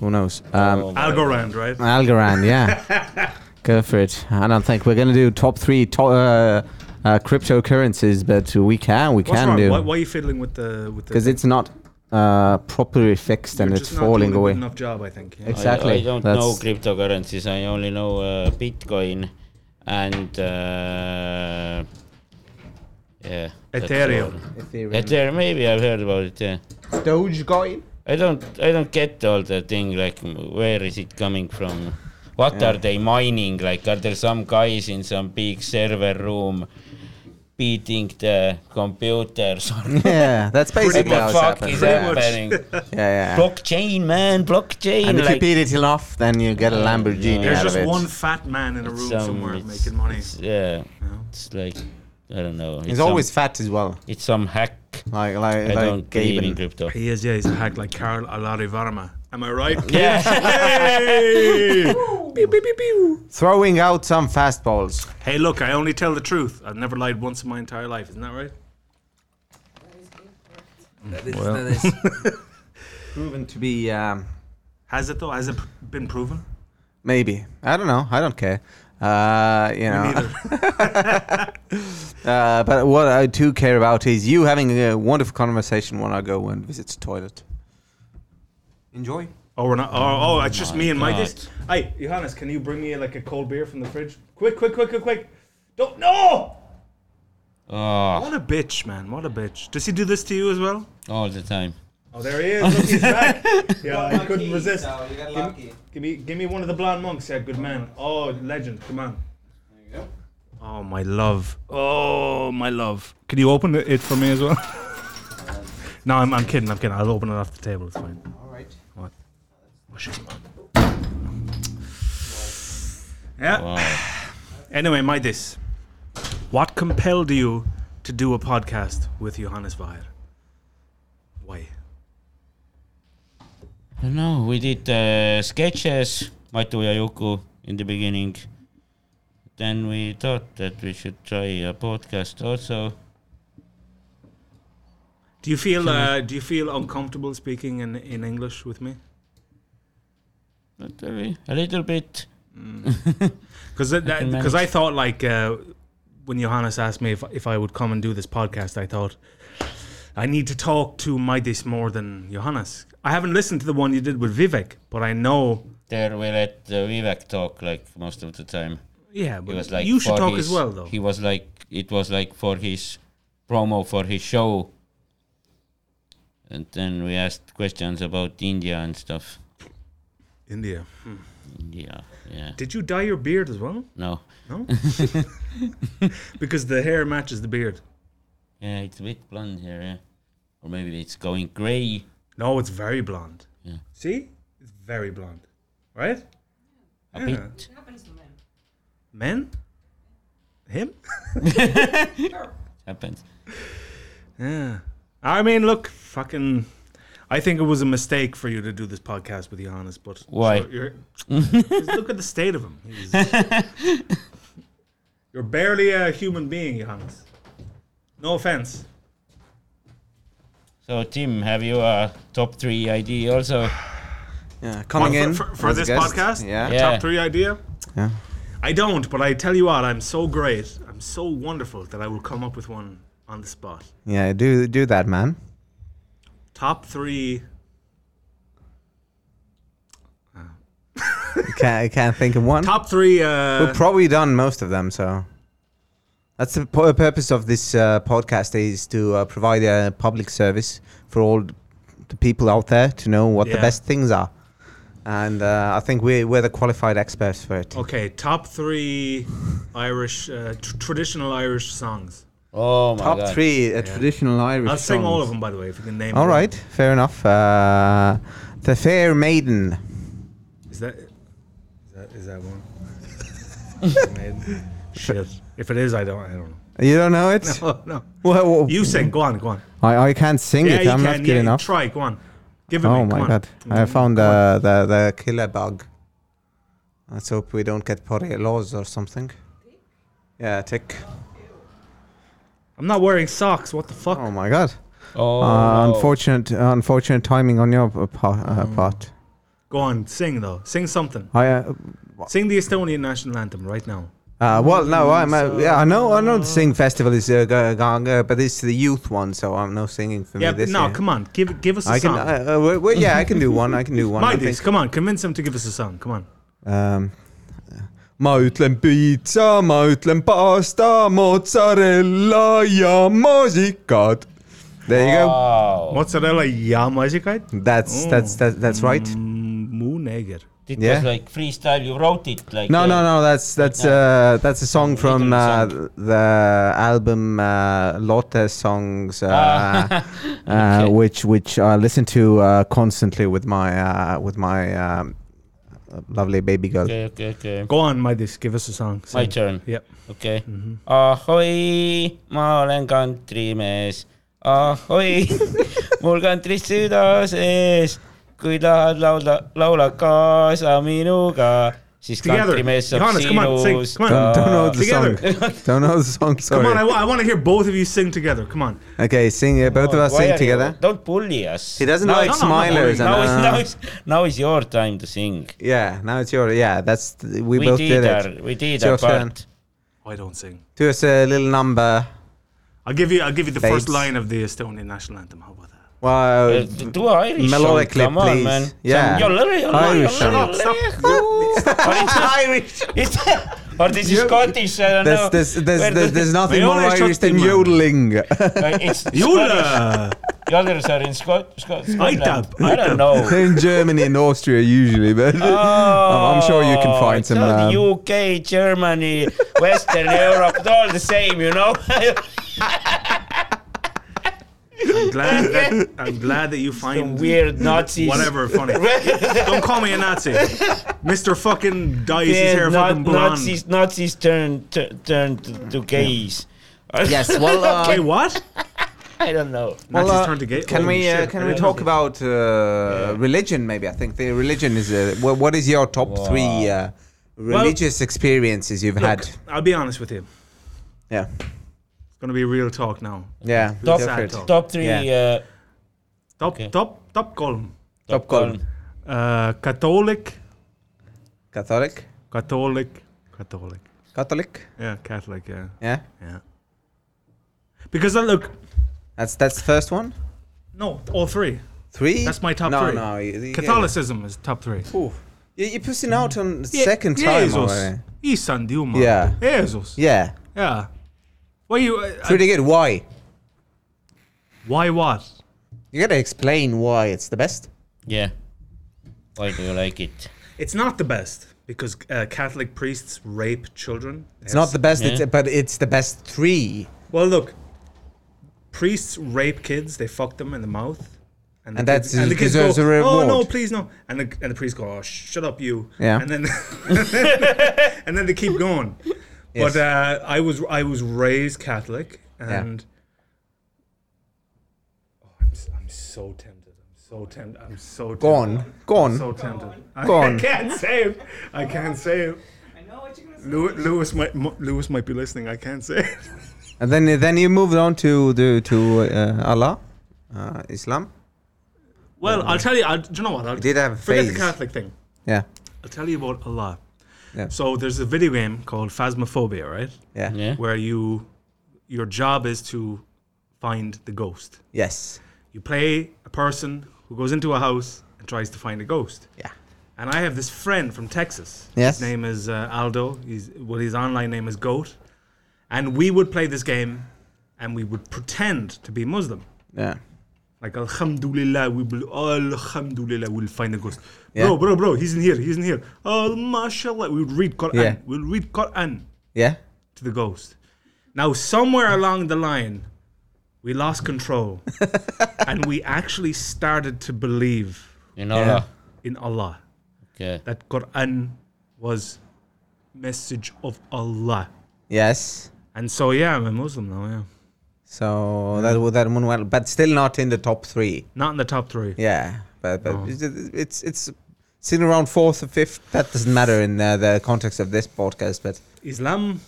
Who knows? Um, Oh my Algorand, right? Algorand, yeah. <laughs> Go for it. I don't think we're going to do top three to- uh, uh, cryptocurrencies, but we can, we What's can wrong? do. Why, why are you fiddling with the with the? Because it's not uh, properly fixed you're and just it's not doing falling a good away. Enough job, I think. yeah. I- Ex- exactly. I, don't know That's- cryptocurrencies. I only know uh, Bitcoin and uh, yeah. that's Ethereum. all. Ethereum. Maybe I've heard about it. Yeah. Dogecoin? I don't. I don't get all the thing. Like, m- where is it coming from? What are they mining? Like, are there some guys in some big server room beating the computers? <laughs> or <laughs> Yeah, that's what basically the how it's fuck is happened. Yeah. happening? <laughs> yeah, yeah. blockchain, man, blockchain. And if you like, beat it enough, then you get a Lamborghini There's out just of it. one fat man in a room some- somewhere it's- making money. It's, yeah, you know? it's like I don't know. He's always some, fat as well. it's some hack. Like, like, I like don't believe in Gaben. <laughs> crypto. He is, yeah, he's a hack like Carl Alari Varma. Am I right? Yeah, Yay! Pew, pew, pew, pew. Throwing out some fastballs. Hey, look, I only tell the truth. I've never lied once in my entire life. Isn't that right? Proven to be. Um, Has it, though? Has it p- been proven? Maybe. I don't know. I don't care. Uh, you know. Neither. Uh, but what I do care about is you having a wonderful conversation when I go and visit the toilet. Enjoy. <laughs> Oh, we're not. Oh, oh it's just me and my God. dish. Hey, Johannes, can you bring me like a cold beer from the fridge? Quick, quick, quick, quick, quick. Don't. No! <laughs> oh, What a bitch, man. What a bitch. Does he do this to you as well? all the time. Oh, there he is. Look, he's <laughs> back. Yeah, I couldn't resist. Give me, give me one of the blonde monks. Yeah, good man. Oh, legend. Come on. Oh, my love. Oh, my love. Can you open it for me as <laughs> well? no, I'm, I'm kidding. I'm kidding. I'll open it off the table. It's fine. All right. What? Oh, shit. Yeah. Anyway, my this. What compelled you to do a podcast with Johannes Weyer? Why? No, we did uh, sketches, Matu ja Juku, in the beginning. Then we thought that we should try a podcast also. Do you feel uh, do you feel uncomfortable speaking in, in English with me? Not very, a little bit. Because can because I manage. thought like uh, when Johannes asked me if if I would come and do this podcast, I thought I need to talk to Maidis more than Johannes. I haven't listened to the one you did with Vivek, but I know There we let uh, Vivek talk like most of the time. yeah. It But was like you should for talk his- as well though. He was like it was like for his promo for his show. And then we asked questions about India and stuff. India. India, yeah. Did you dye your beard as well? No. No. because the hair matches the beard. Yeah, it's a bit blonde here, yeah. Or maybe it's going grey. No, it's very blonde. Yeah. See, it's very blonde, right? A Yeah. bit. Men? Him? Happens. Yeah. I mean, look, fucking. I think it was a mistake for you to do this podcast with Johannes, but Why? Sure, you're, just look at the state of him. He's- <laughs> you're barely a human being, Johannes. No offense. So Tim, have you a top three idea also? Yeah, coming One for- for, in for as a this guest. podcast. Yeah. Yeah. Top three idea. Yeah. I I don't, but I tell you what, I'm so great, I'm so wonderful that I will come up with one on the spot. Yeah, do do that, man. Top three. Can't I can't think of one. Top three. We've Uh, probably done most of them, so that's the pu- purpose of this uh, podcast is to uh, provide a public service for all the people out there to know what the Yeah. best things are, and uh, I think we we're the qualified experts for it. okay, top three Irish uh, tr- traditional Irish songs. Oh my Top god. three uh, Yeah. traditional Irish. I'll sing all songs. of them, by the way, if you can name. All one. right, fair enough. Uh, the Fair Maiden. Is that is that is that <laughs> one? Made- Shit. If it is, I don't. I don't know. You don't know <laughs> it? Oh, no. Wha- wha- You sing. Go on. Go on. I, I can't sing Yeah, it. you I'm can. not yeah, good enough. Try. Go on. Give it Oh me. my come on. god! I found uh, the the killer bug. Let's hope we don't get potty laws or something. Yeah, tick. I'm not wearing socks. What the fuck? Oh my god! Oh. Uh, no. unfortunate, unfortunate timing on your uh, pa- uh, Hmm. part. Go on. Sing though. Sing something. I uh, Sing the Estonian national anthem right now. uh, well, no, I'm. Uh, yeah, I know. I know the singing festival is uh, go- going, uh, but it's the youth one, so I'm no singing for Yeah. me this No. year. Come on. Give give us a I can. song. Uh, uh, well, well, yeah, I can do one. I can do one. I Mind think. this. Come on. Convince him to give us a song. Come on. ähm, ma ütlen piitsa , ma ütlen pasta , mozzarella ja maasikad . There you Oh. go . Wow. Mozzarella ja maisikaid. That's that's that, that's right. Mm, Muu neger. It was Yeah. like freestyle. You wrote it like. No, uh, no, no. That's that's uh, that's a song from uh, the album uh, Lotte songs, uh, uh, Okay. which which I listen to uh, constantly with my uh, with my um, lovely baby girl. Okay, okay, okay. Go on, Maidis. Give us a song. My Sing. turn. Yep. okei okay. mm -hmm. . Mm-hmm. ahoi , ma olen kantrimees . <laughs> ahoi , mul kantris süda sees . kui tahad laulda , laula kaasa minuga , siis Together. kantrimees saab Johannes, come on, sing. sinust Come on. Don't, don't know the Together. song. Uh, <laughs> Don't know the song. Sorry. Come on, I, want to hear both of you sing together. Come on. Okay, sing. Uh, both of us Oh, Why are sing you- together. Don't bully us . He doesn't like no, no, no, smilers. now is and, uh, now is now is your time to sing . yeah, now it's your. Yeah, that's th- we, we both did did our it. we did It's our your turn. part . Oh, I don't sing. Do us a little number. I'll give you. I'll give you the first Babes. line of the Estonian national anthem. How about that? Wow. Uh, do a Irish Melodically, song, come on please. man . Yeah. Irish song. <laughs> Irish. or this is Scottish, I don't know. There's, there's, there's, Where there's, the- there's nothing They more only Irish shot than the man. yodeling. uh, it's <laughs> Scottish. Yola. The others are in Scot- Scot- Scotland. Itab, I don't know. in Germany and Austria, usually, but <laughs> I'm I'm sure you can find Oh, it's some. all um, UK, Germany, Western Europe, it's all the same, you <laughs> know. I'm glad <laughs> that I'm glad that you Some find weird Nazis. <laughs> whatever funny. Don't call me a Nazi, Mister Fucking dyes his Yeah, hair Na- fucking blonde. Nazis, Nazis turned tu- turned to, to gays. Yes, well, uh, Wait, what? <laughs> I don't know. well, Nazis uh, turned to gay. Can Holy we uh, shit, can I we didn't talk know about uh, religion? Maybe I think the religion is. Uh, wha- what is your top three uh, religious experiences you've that. had? Look, I'll be honest with you. It's Yeah, gonna be real talk now. yeah. Top, go for it. Top. top three. Uh, Top Okay. top top column. Top column. Uh, Catholic, Catholic, Catholic, Catholic. Catholic. Yeah, Catholic. Yeah, Yeah, yeah. Because I look, that's that's the first one. no, all three. Three. That's my top no, three. No, you- you- Catholicism is top three. Ooh. You- You're pushing out on the second time already. Issand jumal. Yeah. Jesus. Yeah, Yeah. Why you? Uh, uh, pretty good. Why? why what? You gotta explain why it's the best. Yeah. Why do you like it? It's not the best because uh, Catholic priests rape children. It's not the best, it's, Yeah. but it's the best three. Well, look, priests rape kids. They fuck them in the mouth. the And kids- that the kids deserves go, a Oh no, reward." please no! And the and the priests go, oh, sh- shut up, you. Yeah. And <laughs> then <laughs> and then they keep going. Yes. But uh, I was I was raised Catholic, and oh, I'm, s- I'm so tempted. I'm so tempted. I'm so tempted. Go on, go I'm on. so tempted. I, Go on. I can't say it. I can't say it. I know what you're gonna say. Lewis might Mo- Lewis might be listening. I can't say it. And then then you moved on to the to uh, Allah, uh, Islam. Well, I'll tell you. I'll, do you know what? I'll did have a forget phase. the Catholic thing. Yeah. I'll tell you about Allah. Yeah. So there's a video game called Phasmophobia, right? Yeah. yeah. Where you, your job is to find the ghost. Yes. You play a person who goes into a house and tries to find a ghost. Yeah. And I have this friend from Texas. Yes. His name is uh, Aldo. He's well, his online name is Goat. And we would play this game, and we would pretend to be Muslim. Yeah. Like Alhamdulillah, we will Alhamdulillah, we'll find a ghost. Yeah. Bro, bro, bro, he's in here, he's in here. Oh, mashallah, we would read Quran. Yeah. We'll read Quran Yeah. to the ghost. Now, somewhere along the line, we lost <laughs> control, and we actually started to believe In Allah. in Allah Okay. that Quran was message of Allah. Yes. And so yeah, I'm a Muslim now, yeah. So that that that one well, but still not in the top three. Not in the top three. Yeah, but Oh. but it's it's, it's sitting around fourth or fifth. That doesn't matter in uh, the context of this podcast. But Islam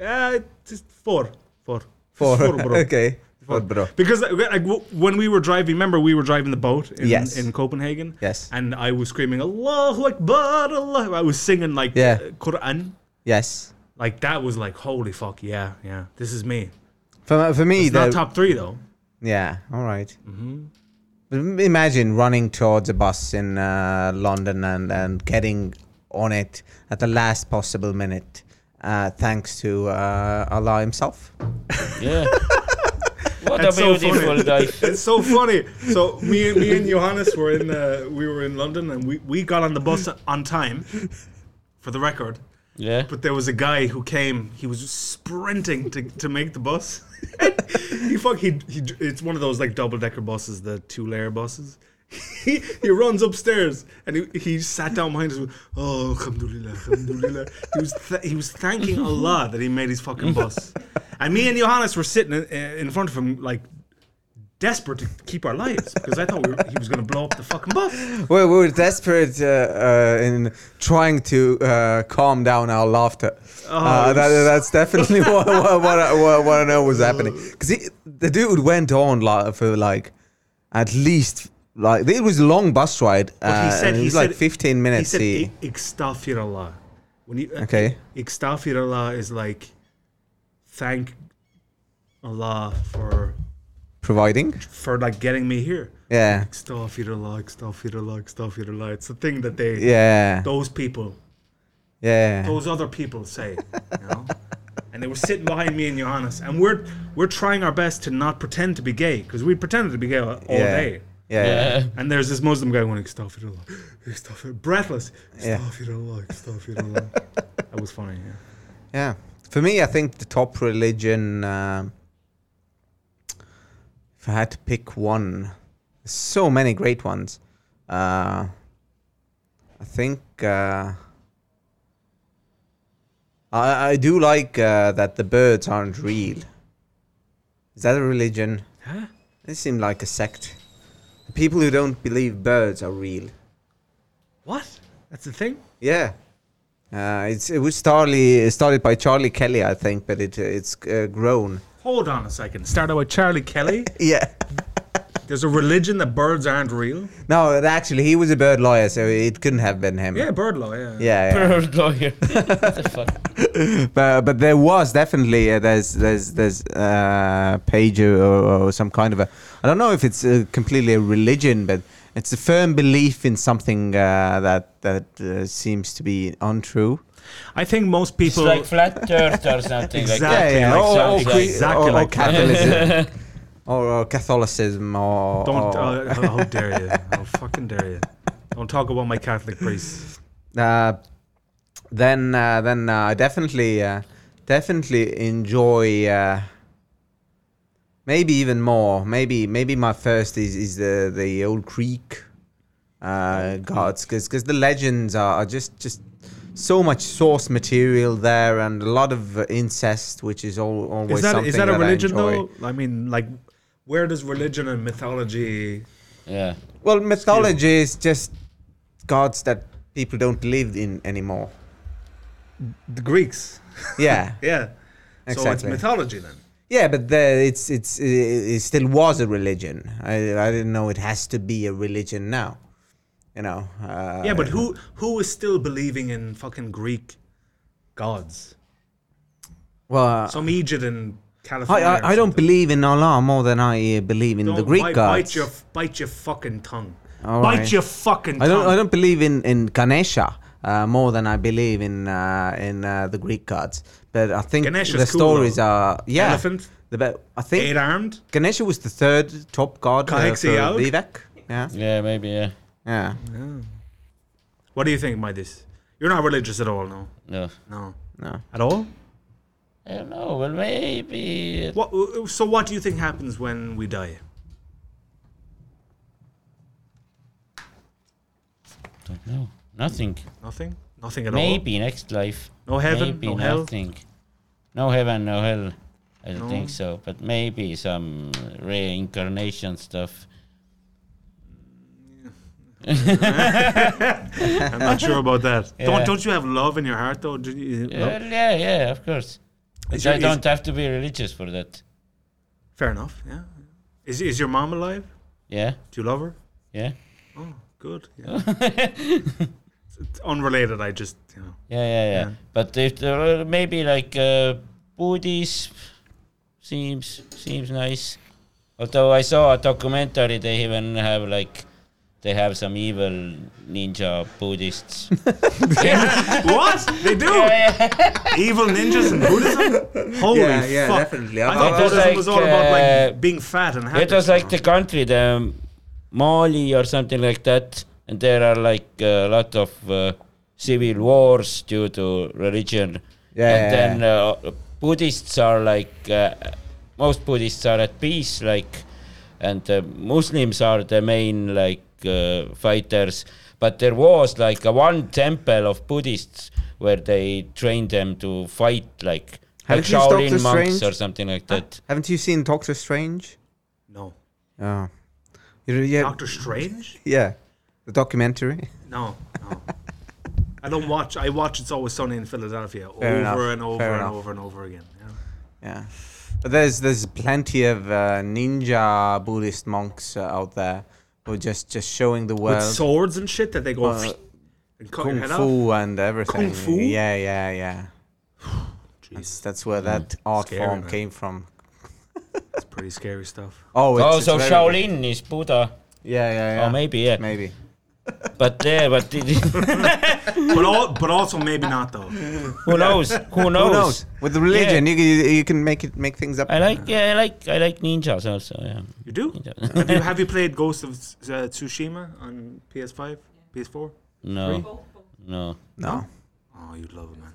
yeah, just four. Four. for Four, bro. <laughs> okay, Four. for bro. Because like, like, w- when we were driving, remember we were driving the boat in, Yes. in Copenhagen? Yes. And I was screaming, Allahu Akbar, Allah. I was singing like Yeah. uh, Quran. Yes, Like that was like, holy fuck, yeah, yeah. This is me. for for me, It's not the, top three though. yeah, all right. Mm-hmm. But im- Imagine running towards a bus in uh, London and and getting on it at the last possible minute, uh, thanks to uh, Allah Himself. Yeah. what a That's so beautiful funny. <laughs> life. It's so funny. So me, me and Johannes were in uh, we were in London and we, we got on the bus on time, for the record. Yeah. But there was a guy who came. He was sprinting to, to make the bus. <laughs> he fuck he, he it's one of those like double decker buses, the two layer buses. <laughs> He, he runs upstairs and he, he sat down behind us. With, oh, alhamdulillah, alhamdulillah. He was th- he was thanking Allah that he made his fucking bus. And me and Johannes were sitting in, in front of him like desperate to keep our lives because I thought we were, he was gonna blow up the fucking bus. Well, we were desperate uh, uh, in trying to uh, calm down our laughter. uh, it that, was- that's <laughs> definitely what, what, what, I- what, what I know was happening. Oh. Because the dude went on like, for like at least, like, it was a long bus ride. But uh, and it was like 15 minutes. He said, he- "I- "Istaghfirullah." When uh, you Okay. Istaghfirullah is like thank Allah for providing. for like getting me here. Yeah. Istaghfirullah, istaghfirullah, istaghfirullah. It's the thing that they Yeah. those people, Yeah. those other people say, you know. And they were sitting behind me and Johannes, and we're we're trying our best to not pretend to be gay because we pretended to be gay all all Yeah. day. Yeah. <laughs> Yeah. And there's this Muslim guy going, Istaghfirullah, Istaghfirullah, breathless, Yeah. Istaghfirullah, Istaghfirullah. <laughs> that was funny, yeah. Yeah. For me, I think the top religion, um if I had to pick one, so many great ones. Uh, I think uh, I, I do like uh, that the birds aren't real. Is that a religion? Huh? They seem like a sect. The people who don't believe birds are real. What? That's the thing? Yeah. Uh, it's it was starly, started by Charlie Kelly, I think, but it it's uh, grown. Hold on a second. Start out with Charlie Kelly. Yeah. There's a religion that birds aren't real. No, it- actually, he was a bird lawyer, so it couldn't have been him. Yeah, bird law, yeah. Yeah, Bird lawyer. <laughs> what the <laughs> fuck? yeah. but but there was definitely uh, there's there's there's uh, page or, or some kind of a I don't know if it's uh, completely a religion, but it's a firm belief in something uh, that that uh, seems to be untrue. I think most It's people. like flat earth or something like that. Exactly like or, or, something. cre- Exactly or, or like <laughs> Catholicism, or, or Catholicism, or don't. or- <laughs> Uh, how how dare you? How fucking dare you? Don't talk about my Catholic priests. uh, then uh, then uh, I definitely uh, definitely enjoy uh, maybe even more maybe maybe my first is is the the old creek uh, gods because because the legends are, are just just so much source material there and a lot of uh, incest which is all, always Is that something is that a I religion enjoy. though? I mean, like, where does religion and mythology? <laughs> Yeah. Well, mythology is just gods that people don't believe in anymore. The Greeks. Yeah. Yeah. So it's Exactly. mythology then. Yeah, but the, it's it's it, it still was a religion. I I didn't know it has to be a religion now. You know. Uh, Yeah, but who who is still believing in fucking Greek gods? Well, uh, Some Egypt and I, California. I, I don't believe in Allah more than I uh, believe in the Greek bite, gods. Bite your bite your fucking tongue. All bite right. your fucking. I don't. tongue. I don't believe in in Ganesha uh, more than I believe in uh, in uh, the Greek gods. But I think Ganesha's the cool, stories though. are yeah. Elephant. The be- I think Eight armed. Ganesha was the third top god uh, for Kahexiaog? Vivek. Yeah, yeah, maybe, yeah. yeah. What do you think, my this? You're not religious at all, no, No. no, No. at all. I don't know. Well, maybe. What? uh, So, what do you think happens when we die? don't know. Nothing. Nothing. Nothing at Maybe next life. all. No heaven. maybe no hell. nothing. No heaven, no hell. I don't No. think so. But maybe some reincarnation stuff. I'm not sure about <laughs> that. Yeah. Don't don't you have love in your heart though? Do you, no? Well, yeah, yeah, of course. But Is your- I is- don't have to be religious for that. Fair enough. Yeah. Is is your mom alive? Yeah, Do you love her? yeah, Oh, good. <laughs> Yeah. It's- it's unrelated. I just you know. yeah, yeah, yeah. Yeah. But if there are maybe like uh, Buddhism seems seems nice. Although I saw a documentary, they even have like they have some evil ninja Buddhists. what they do? Evil ninjas and <laughs> Buddhism. Holy Yeah, yeah, fuck! definitely. I I've- thought I've- Buddhism was all like, about uh, like being fat and happy. It was like the country, the Mali or something like that, and there are like a lot of uh, civil wars due to religion. Yeah, and yeah, then uh, Buddhists are like uh, most Buddhists are at peace, like, and uh, Muslims are the main like uh, fighters. But there was like a one temple of Buddhists where they trained them to fight, like, like Haven't you stopped Shaolin this monks strange? or something like that. Haven't you seen Doctor Strange? no, Oh. You- yeah, Doctor Strange. yeah. The documentary. No, no. I don't watch. I watch It's Always Sunny in Philadelphia Fair enough, over and over fair and enough. over and over again. Yeah. Yeah. But there's there's plenty of uh, ninja Buddhist monks uh, out there who are just just showing the With world swords and shit that they go uh, and cut your kung head off. fu and everything. fu? Yeah, yeah, yeah. That's, Jeez, that's where that art Hmm. Scary, form man. came from. that's pretty scary stuff. Oh, it's, Oh, it's so very- Shaolin is Buddha. Yeah, yeah, yeah. Oh, maybe, yeah. Maybe. But yeah, but <laughs> it, But all, but also maybe not though. <laughs> who knows? Who knows? Who knows? With the religion, you you, you can make it make things up. I like yeah, I like I like ninjas also. Yeah. You do? Ninja. have you have you played Ghost of uh, Tsushima on PS5, PS4? No, no. <laughs> No. Oh, you'd love it, man.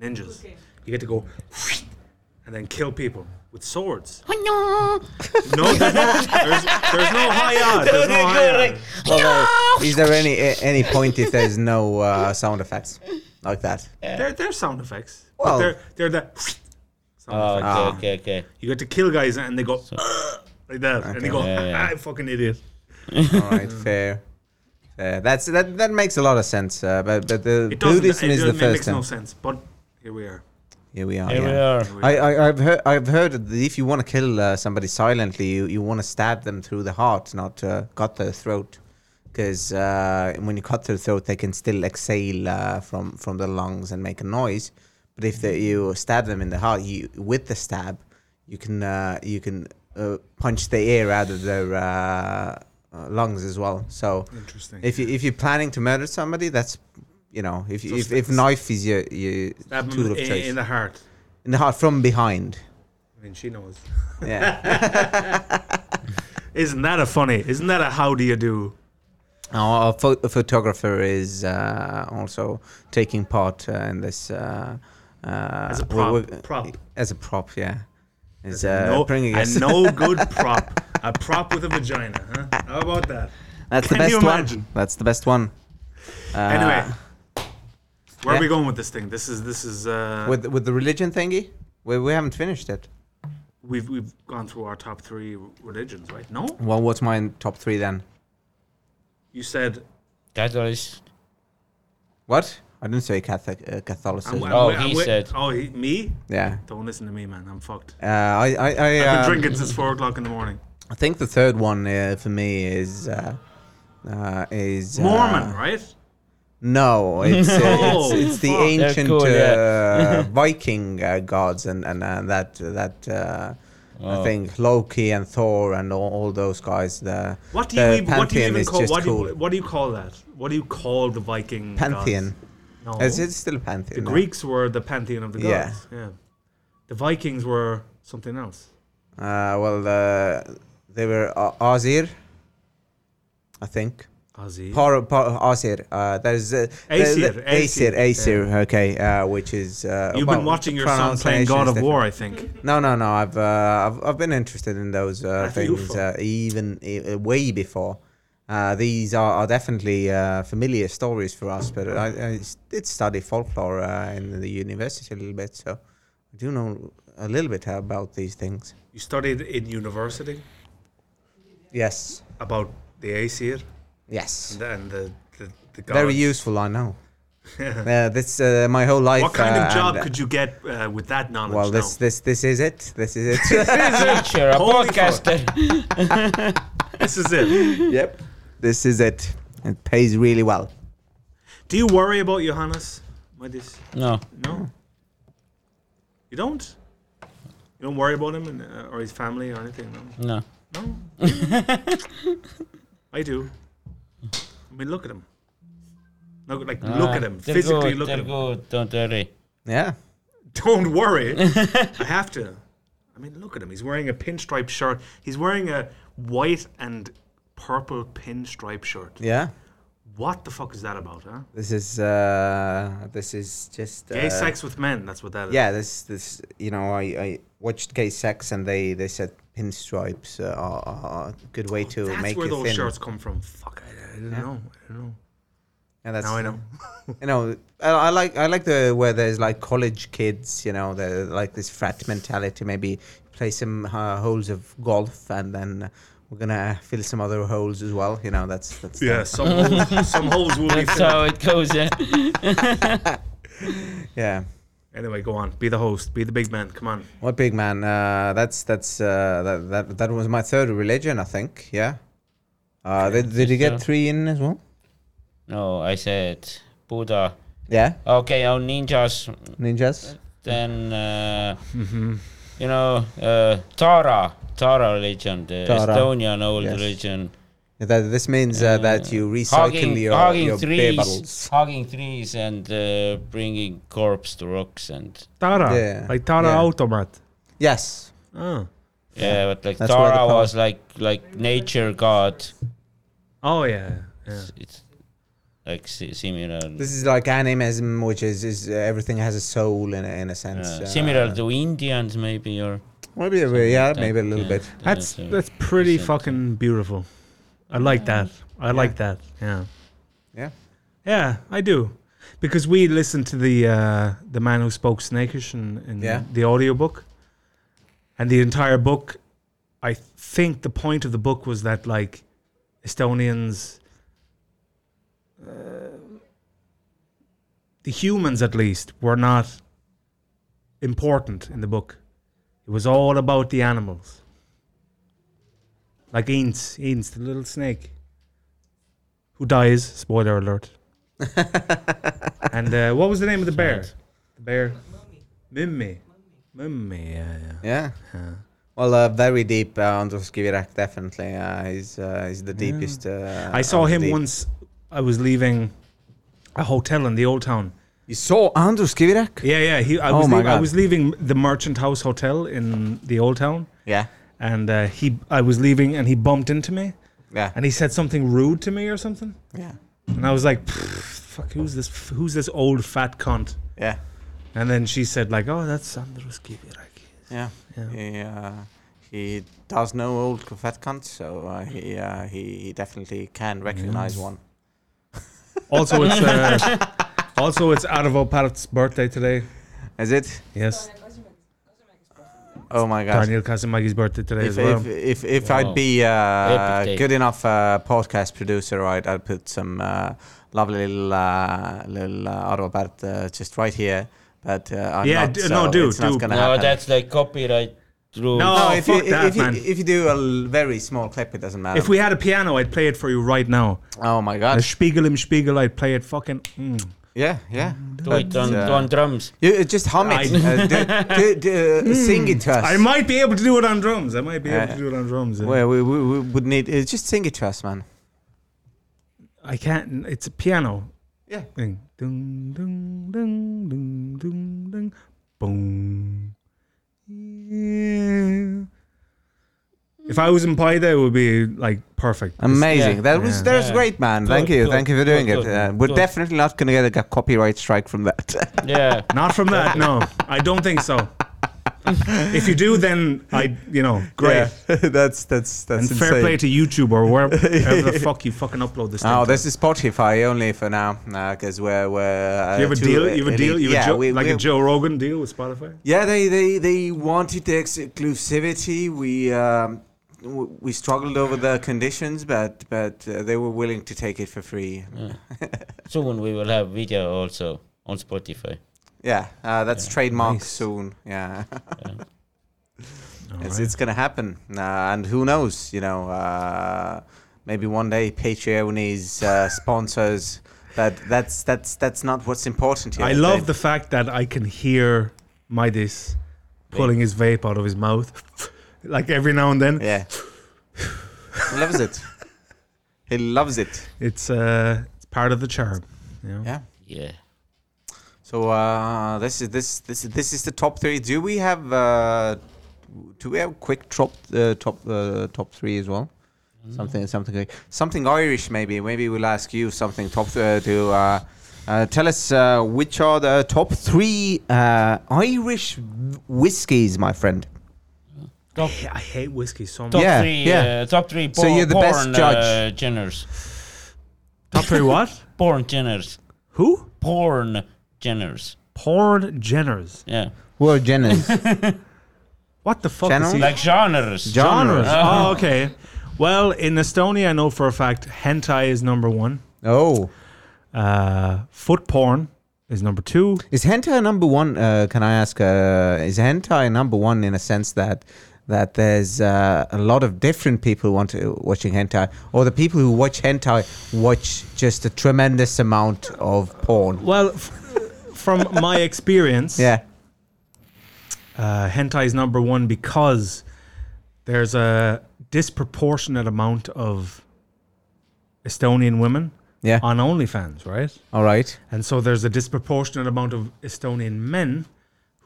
Ninjas. You get to go <sniffs> and then kill people with swords. no, there's no, there's, there's no high odd. There's no high odd. Well, uh, is there any a- any point if there's no uh, sound effects like that? They're, they're sound effects. Well- but they're, they're the <sniffs> sound Oh, effects. Ah. okay, okay, okay. You get to kill guys and they go "Ugh," <sniffs> like that, and they go, Yeah, yeah. "Ah, fucking idiot." All right, Mm. fair. fair. That's that. That makes a lot of sense. Uh, but but the It doesn't. Buddhism it is the doesn't- it first makes no thing. sense. But here we are. Here we are. Here yeah. we are. Here we I, are. I, I've heard I've heard that if you want to kill uh, somebody silently, you, you want to stab them through the heart, not uh, cut their throat, because uh, when you cut their throat, they can still exhale uh, from from the lungs and make a noise. But if they, you stab them in the heart, you with the stab, you can uh, you can uh, punch the air out of their uh, uh, lungs as well. So Interesting. if you if you're planning to murder somebody, that's you know if you So if, sta- if knife is your, your Stab 'em tool of in, choice in the heart. in the heart from <laughs> behind. I mean, she knows. Yeah. Isn't that a funny? Isn't that a how do you do? Our pho- photographer is uh, also taking part uh, in this. Uh, uh, As a we're- prop. we're- prop. As a prop, yeah. Is A uh, no, bringing a us. <laughs> no good prop. A prop with a vagina, huh? How about that? That's the Can best you one. imagine? That's the best one. Uh, Anyway, where are yeah. we going with this thing? This is this is uh, with with the religion thingy, we we haven't finished it. we've we've gone through our top three religions, right? No, Well, what's my top three then? you said Catholics. What? I didn't say Catholic uh, I'm, Catholicism. I'm, Oh, wi- he I'm wi- said. Oh, he, me? yeah. Don't listen to me, man. I'm fucked. Uh, I I I, I've been um, drinking since four o'clock in the morning. I think the third one uh, for me is uh, uh, is uh, Mormon, right? <laughs> No, it's uh, Oh, it's, it's the fuck. They're ancient cool, uh, <laughs> yeah. Viking uh, gods and and uh, that that uh, I Oh. think Loki and Thor and all, all those guys. The What do the you even, what do you pantheon even is call just what do, cool. you, what do you call that? What do you call the Viking gods? Pantheon. No. It's, it's still a the pantheon. no? Greeks were the pantheon of the Yeah. gods. Yeah. The Vikings were something else. Uh, well, uh, they were uh, Azir, I think. Aussie. Par, par, Azir. Uh, there's uh, there's- Aesir, Aesir, Aesir, Aesir. Okay, uh, which is uh, You've well, been watching your son playing pronunciation God is of War, different. I think. No, no, no. I've uh, I've, I've been interested in those uh, That's a things UFO. uh, even uh, way before. Uh, these are, are definitely uh, familiar stories for us, but I, I s- did study folklore uh, in the university a little bit, so I do know a little bit about these things. You studied in university Yes, about the Aesir yes, and the, and the, the, the gods. very useful. <laughs> I know. uh, that's uh, my whole life. What kind uh, of job and, uh, could you get uh, with that knowledge Well, now? this this this is it. This is <laughs> it. Teacher, <laughs> a Holy podcaster. this is <laughs> it. yep, this is it. It pays really well. Do you worry about Johannes? With this? No, No. You don't? You don't worry about him and, uh, or his family or anything? No. no. no. <laughs> I do. I mean, look at him. Look, like, look at Ah, him. they're Physically good, look at they're him. good, Don't worry. Yeah. Don't <laughs> worry. I have to. I mean, look at him. He's wearing a pinstripe shirt. He's wearing a white and purple pinstripe shirt. Yeah. What the fuck is that about, huh? This is uh this is just uh, Gay sex with men. That's what that is. Yeah, this this you know I, I watched gay sex and they they said pinstripes uh, are, are a good way to That's make where you those thin. shirts come from. Fuck, I, I didn't know. I didn't know. And that's Now I know. you know I, I like I like the where there's like college kids you know the like this frat mentality maybe play some uh, holes of golf and then we're gonna fill some other holes as well you know that's that's <laughs> the- Yeah, <laughs> some holes, some holes will be That's filled. how it goes. <laughs> Yeah. yeah. Anyway, go on. Be the host. Be the big man. Come on. What big man? Uh, that's that's uh, that, that that was my third religion, I think. Yeah. Uh, did, did you get so- three in as well? No, I said Buddha. Yeah, Okay, oh ninjas. ninjas. Then uh, Mm-hmm. you know uh, Tara, Tara religion, the Tara. Estonian old Yes. religion. That this means uh, that you recycle Hugging, your hugging your beer trees, bottles. hugging trees, and uh, bringing corpse to rocks and Tara. Yeah. Like Tara Yeah. Automat. Yes. Oh. yeah, but like That's where the Tara power- was like like nature god. Oh, yeah. yeah. It's like si- similar, This is like animism, which is is uh, everything has a soul in a, in a uh, sense. Uh, similar to Indians maybe or maybe a bit, yeah, like that, maybe a little yeah. bit. That's Yeah, so- that's pretty Decent. fucking beautiful. I like that. I like that. Yeah. Yeah. Yeah, I do. Because we listened to the uh, the man who spoke snakish in, in Yeah. the audiobook. And the entire book I think the point of the book was that like Estonians uh, the humans at least were not important in the book. It was all about the animals. Like Eanes, Eanes, the little snake, who dies. Spoiler alert. and uh, what was the name of the bear? The bear. Mimmi. Mimmi. Yeah, yeah. Yeah. Yeah. Well, uh, very deep. Uh, Andros Kivirak definitely. Uh, he's uh, he's the deepest. Uh, I saw of the him deep. once. I was leaving a hotel in the old town. You saw Andros Kivirak? Yeah, yeah. He. I Oh was. my leav- I God. was leaving the Merchant House Hotel in the old town, Yeah. and uh, he. I was leaving, and he bumped into me, Yeah. and he said something rude to me or something, Yeah. and I was like, "Pfft, "Fuck, who's this? Who's this old fat cunt?" Yeah. And then she said, "Like, oh, that's Andrus Kivirak." <laughs> Yeah. Yeah. He uh, he does know old fat cunts, so uh, he, uh, he he definitely can recognize one. Also, it's. Uh, also, it's Arvo Pärt's birthday today. Is it? Yes, Oh my god. Daniel Kazemagi's birthday today If, as well. if if if Wow. I'd be uh, Epic day. good enough uh, podcast producer, I'd I'd put some uh, lovely little uh, little uh, Arvobert, uh, just right here. But uh, I'm Yeah, not, d- so no, do- it's not do. gonna no happen. that's like copyright through No. Oh, if, fuck you, that, if, you, man. if you do a l- very small clip, it doesn't matter. If we had a piano, I'd play it for you right now. oh my A god! Spiegel im Spiegel, I'd play it fucking. Mm. yeah, yeah. do it on, uh, on drums. You uh, just hum it. I- Mm. <laughs> Uh, do, do, do, uh, Sing it to us. I might be able to do it on drums. I might be able Uh, to do it on drums. yeah. Well, we, we, we would need uh, just sing it to us, man. I can't. It's a piano Yeah. thing. Dun, dun, dun, dun, dun, dun. Boom. Yeah. If I was in Paida, it would be like perfect. Amazing. Yeah. That was Yeah. that was Yeah. great, man. Good, Thank you. good, Thank you for doing good, it. good, Uh, we're good. definitely not going to get a copyright strike from that. <laughs> yeah. Not from that, no. I don't think so. if you do, then I, you know, great. Yeah. <laughs> that's that's that's and fair insane. play to YouTube or <laughs> wherever the fuck you fucking upload this. Oh, thing to. this is Spotify only for now, because we're we're. Uh, you have a too deal. You have a deal. elite. You have a Joe- we- like we- a Joe Rogan deal with Spotify. Yeah, they they they wanted the exclusivity. We um, w- we struggled over the conditions, but but uh, they were willing to take it for free. Soon we will have video also on Spotify. Yeah, uh, that's Yeah. trademark Nice. soon. Yeah, Yeah. it's Alright. it's gonna happen, uh, and who knows? You know, uh, maybe one day Patreon is uh, sponsors. But that's that's that's not what's important here. I They- love the fact that I can hear my this pulling his vape out of his mouth, <laughs> like every now and then. <laughs> Yeah. he loves it. He loves it. It's uh, it's part of the charm. You know? Yeah. yeah. So uh, this is this this is- this is the top three. Do we have uh, do we have quick top uh, top uh, top three as well? Something something like- something Irish maybe. Maybe we'll ask you something top uh, to uh, uh, tell us uh, which are the top three uh, Irish whiskies, my friend. Top, Yeah, I hate whiskey so much. top Yeah, three. yeah. Uh, top three. So Born, you're the born, best judge. Uh, geners. Top <laughs> three what? Porn geners. Who? Porn geners. Porn Jenners. Yeah. Well, Jennings. What the fuck Channel? is he? Like genres. Gen- genres. Genres. Oh, okay. Well, in Estonia, I know for a fact hentai is number one. <laughs> oh, Uh, foot porn is number two. is hentai number one? Uh, can I ask? Uh, is hentai number one in a sense that? That there's uh, a lot of different people want to, watching hentai, or the people who watch hentai watch just a tremendous amount of porn. Well, f- from my experience, Yeah, uh, hentai is number one because there's a disproportionate amount of Estonian women yeah. on OnlyFans, right? All right. And so there's a disproportionate amount of Estonian men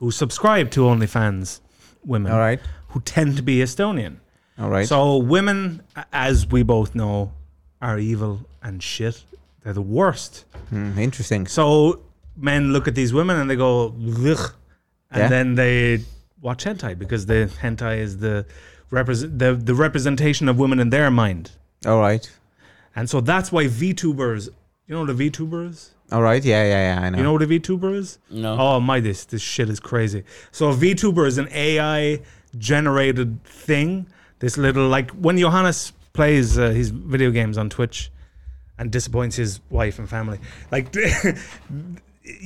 who subscribe to OnlyFans women All right. who tend to be Estonian. All right. So women, a- as we both know, are evil and shit. They're the worst. Hmm, interesting. So men look at these women and they go, Ugh, and Yeah. then they watch hentai because the hentai is the represent the, the representation of women in their mind. All right. And so that's why VTubers, you know the VTubers? All right. Yeah, yeah, yeah. I know. You know what a VTuber is? No. Oh my, this this shit is crazy. So a VTuber is an AI generated thing. This little like when Johannes plays uh, his video games on Twitch and disappoints his wife and family. Like <laughs>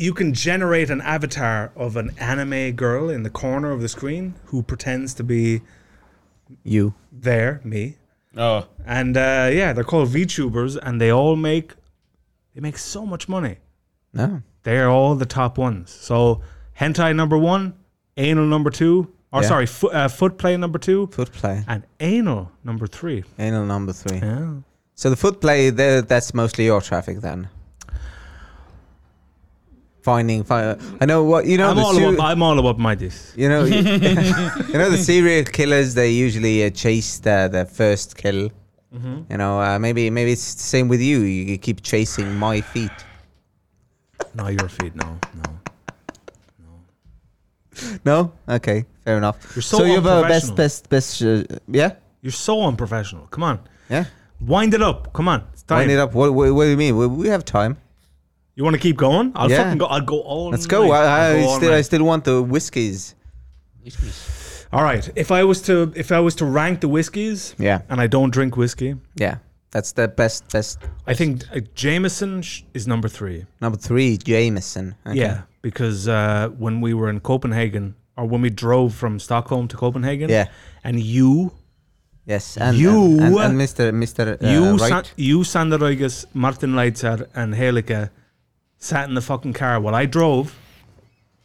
you can generate an avatar of an anime girl in the corner of the screen who pretends to be you. there, me. Oh. And uh, yeah, they're called VTubers and they all make they make so much money. No. They are all the top ones. So hentai number one, anal number two, or Yeah. sorry, fo- uh, foot play number two, Foot play. and anal number three. Anal number three. Yeah. So the foot play, there, that's mostly your traffic then. Finding, fi- I know what you know. I'm the all seri- about. I'm all about my this. you know, <laughs> you, <laughs> know the serial killers. They usually uh, chase the the first kill. Mm-hmm. You know, uh, maybe maybe it's the same with you. You you keep chasing my feet. No, your feet. No, no. No, okay, fair enough. You're so you're the best, unprofessional. best, best. Uh, yeah, You're so unprofessional. Come on, yeah. wind it up. Come on, it's time. Wind it up. What, what, what do you mean? We, we have time. You want to keep going? I'll Yeah. fucking go. I'll go all. Let's go. night. I, I'll I go all still, I night. still want the whiskies. all right. If I was to, if I was to rank the whiskeys, Yeah, and I don't drink whiskey, yeah. That's the best, best I think uh, Jameson sh- is number three. Number three, Jameson. Okay. Yeah, because uh, when we were in Copenhagen, or when we drove from Stockholm to Copenhagen. Yeah. And you, Yes, and You- and, and, and Mr. Mr. Uh, you, right. Sa- you, Sander Ruigas, Martin Leitzer, and Helika sat in the fucking car while I drove,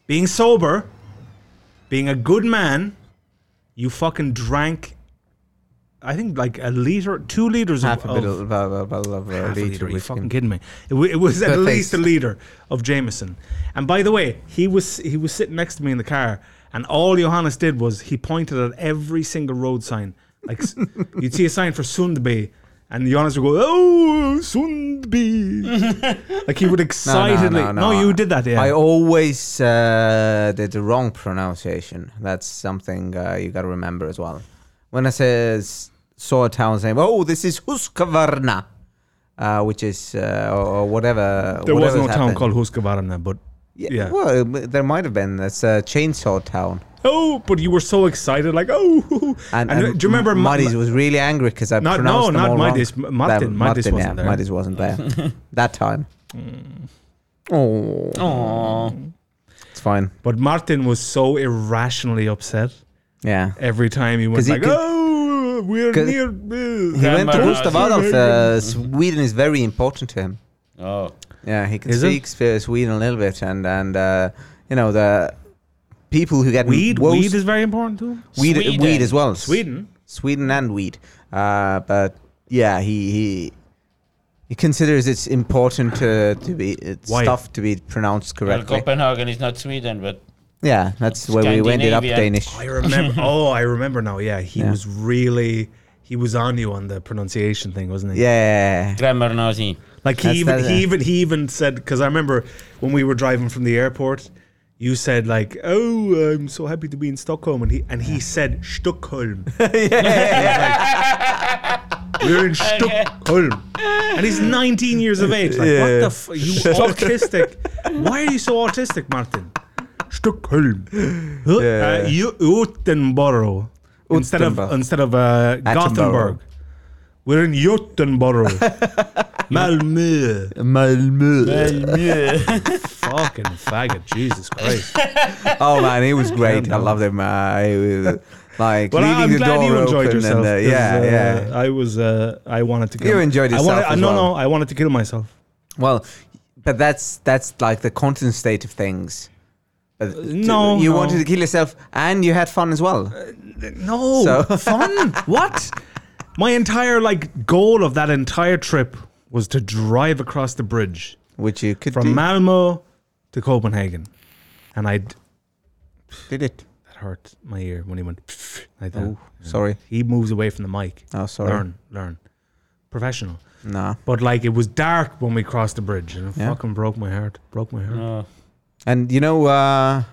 being sober, being a good man. You fucking drank, I think like a liter, two liters half a of, bottle, of- of, bottle- bottle of, uh, half a liter liter. Are you whiskey. fucking kidding me? It, wa- it was at Good least a face. liter of Jameson. And by the way, he was he was sitting next to me in the car, and all Johannes did was he pointed at every single road sign. Like <laughs> s- you'd see a sign for Sundby, and Johannes would go, "Oh, <laughs> Sundby!" like he would excitedly. No, you did that. Yeah, I always uh, did the wrong pronunciation. That's something uh, you got to remember as well. When I says saw a town saying, "Oh, this is Husqvarna," uh, which is uh, or, or whatever. there was whatever's no town happened. called Husqvarna, but Yeah, yeah. Well, there might have been. It's a chainsaw town. oh, but you were so excited, like oh. And, And, do you remember Ma- Madis was really angry because I Not- pronounced no, them not all wrong. Madis, M- Martin. That- Madis wasn't yeah, there. Madis wasn't <laughs> there that time. Mm. Oh, Oh, it's fine. But Martin was so irrationally upset. Yeah. every time he went 'Cause he like, could- oh, we're 'cause near. He uh, Yeah, went to but- Gustav <laughs> Adolf. Uh, Sweden is very important to him. oh, Yeah, he can Is it? speak sp- Sweden a little bit, and and uh, you know the people who get Weed, most- weed is very important to him. weed, Sweden. weed as well. S- Sweden. Sweden and weed. Uh, but yeah, he he he considers it's important to to be it's Why? stuff to be pronounced well, correctly. Copenhagen is not Sweden, but Yeah, that's where we ended up Scandinavia. Danish. <laughs> I remember. oh, I remember now. Yeah, he Yeah. was really. He was on you on the pronunciation thing, wasn't he? <laughs> Yeah, grammar Nazi. Like he That's- even that's- he even he even said because I remember when we were driving from the airport, you said like, "Oh, I'm so happy to be in Stockholm," and he and he said Stockholm. We're <laughs> in Stockholm, and he's 19 years of age. Like, what the f- you autistic? Why are you so autistic, Martin? Stockholm, Huh? Yeah. uh, you, Utenborough instead of Utenborough. instead of uh, Gothenburg. We're in <laughs> Göteborg. Malmö. <laughs> Malmö. <laughs> Fucking faggot, Jesus <laughs> Christ. oh man, it <laughs> was great. I loved him. Uh, he was, like Well, leaving I, am the glad door you open enjoyed yourself. and uh, 'cause, yeah, uh, yeah. I was, uh, I wanted to kill You enjoyed I yourself wanted- as no, no, well. I wanted to kill myself. Well, but that's that's like the constant state of things. But no, you no. Uh, wanted to kill yourself, and you had fun as well. No, So- <laughs> fun. what? My entire like goal of that entire trip was to drive across the bridge which you could from do. Malmo to Copenhagen, and I did it. that hurt my ear when he went <sniffs> like that. Oh, sorry. He moves away from the mic. Oh, sorry. Learn, learn, professional. No. But like it was dark when we crossed the bridge, and it Yeah. fucking broke my heart. Broke my heart. Oh. And you know, uh,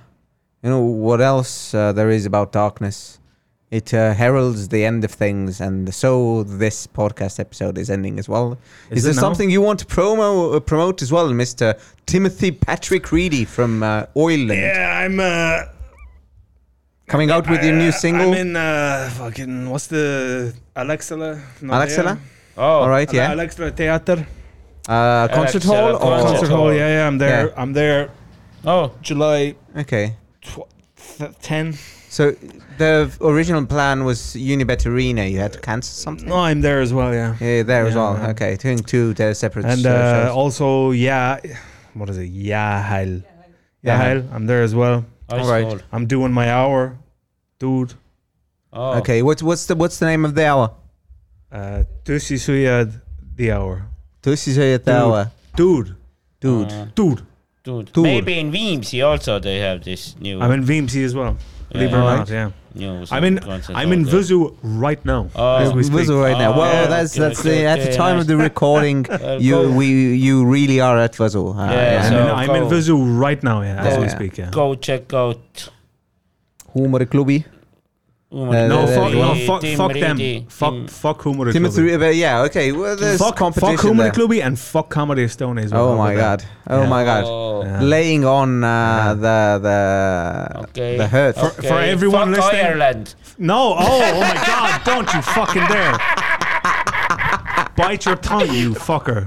you know what else uh, there is about darkness? It uh, heralds the end of things, and so this podcast episode is ending as well. Is Is, it there now? something you want to promo uh, promote as well, Mister Timothy Patrick Reedy from uh, Oiland, Yeah, I'm. Uh, coming out with your new single? I'm in uh, fucking what's the Alexela? Alexela, Oh, all right, yeah. Alexela Theater. Uh, concert hall Alexela or Oh, concert hall. Yeah, yeah, I'm there. Yeah. I'm there Oh, July okay. tw- th- 10. So the original plan was Unibet Arena. You had to cancel something. No, I'm there as well, yeah. Yeah, there as Yeah, well. yeah. Okay, doing two uh, separate And uh, uh, shows. also, yeah, what is it? Yahal. Yahal. Yahal, I'm there as well. ice All right. hole. I'm doing my hour, dude. Oh, Okay, what's what's the what's the name of the hour? Uh, Tusi Suyad, the hour. Tusi Zayat Dude. Oh, hour, Dude, dude. Uh, dude. dude. Tour. Maybe in Vimsi also they have this new I'm in VMC as well. Believe it or Yeah. not, yeah. new I'm in, concert I'm hall in there. Vizu right now. Oh. as we speak. Whistle right now. Oh, Well, yeah, that's okay, that's the, okay, at the okay, time <laughs> of the recording. you go. we you really are at Vazzle. Uh, Yeah, I'm, so- in, I'm in go. Vizu right now, yeah, as Yeah. we speak, yeah. Go check out. Humor Clubby. No, Oh No, Uh, fuck, no, Reedy, fuck, fuck them. Fuck, fuck Humor Timothy, uh, yeah, okay. Well, there's fuck, competition fuck Humor there. Clubby and fuck Comedy Stone as well. Oh my god. Oh Yeah. my god. Oh. Yeah. Laying on uh, the the Okay. the hurt. For- for everyone Fuck listening- Ireland. No, oh, oh my god, <laughs> don't you fucking dare. Bite your tongue, you fucker.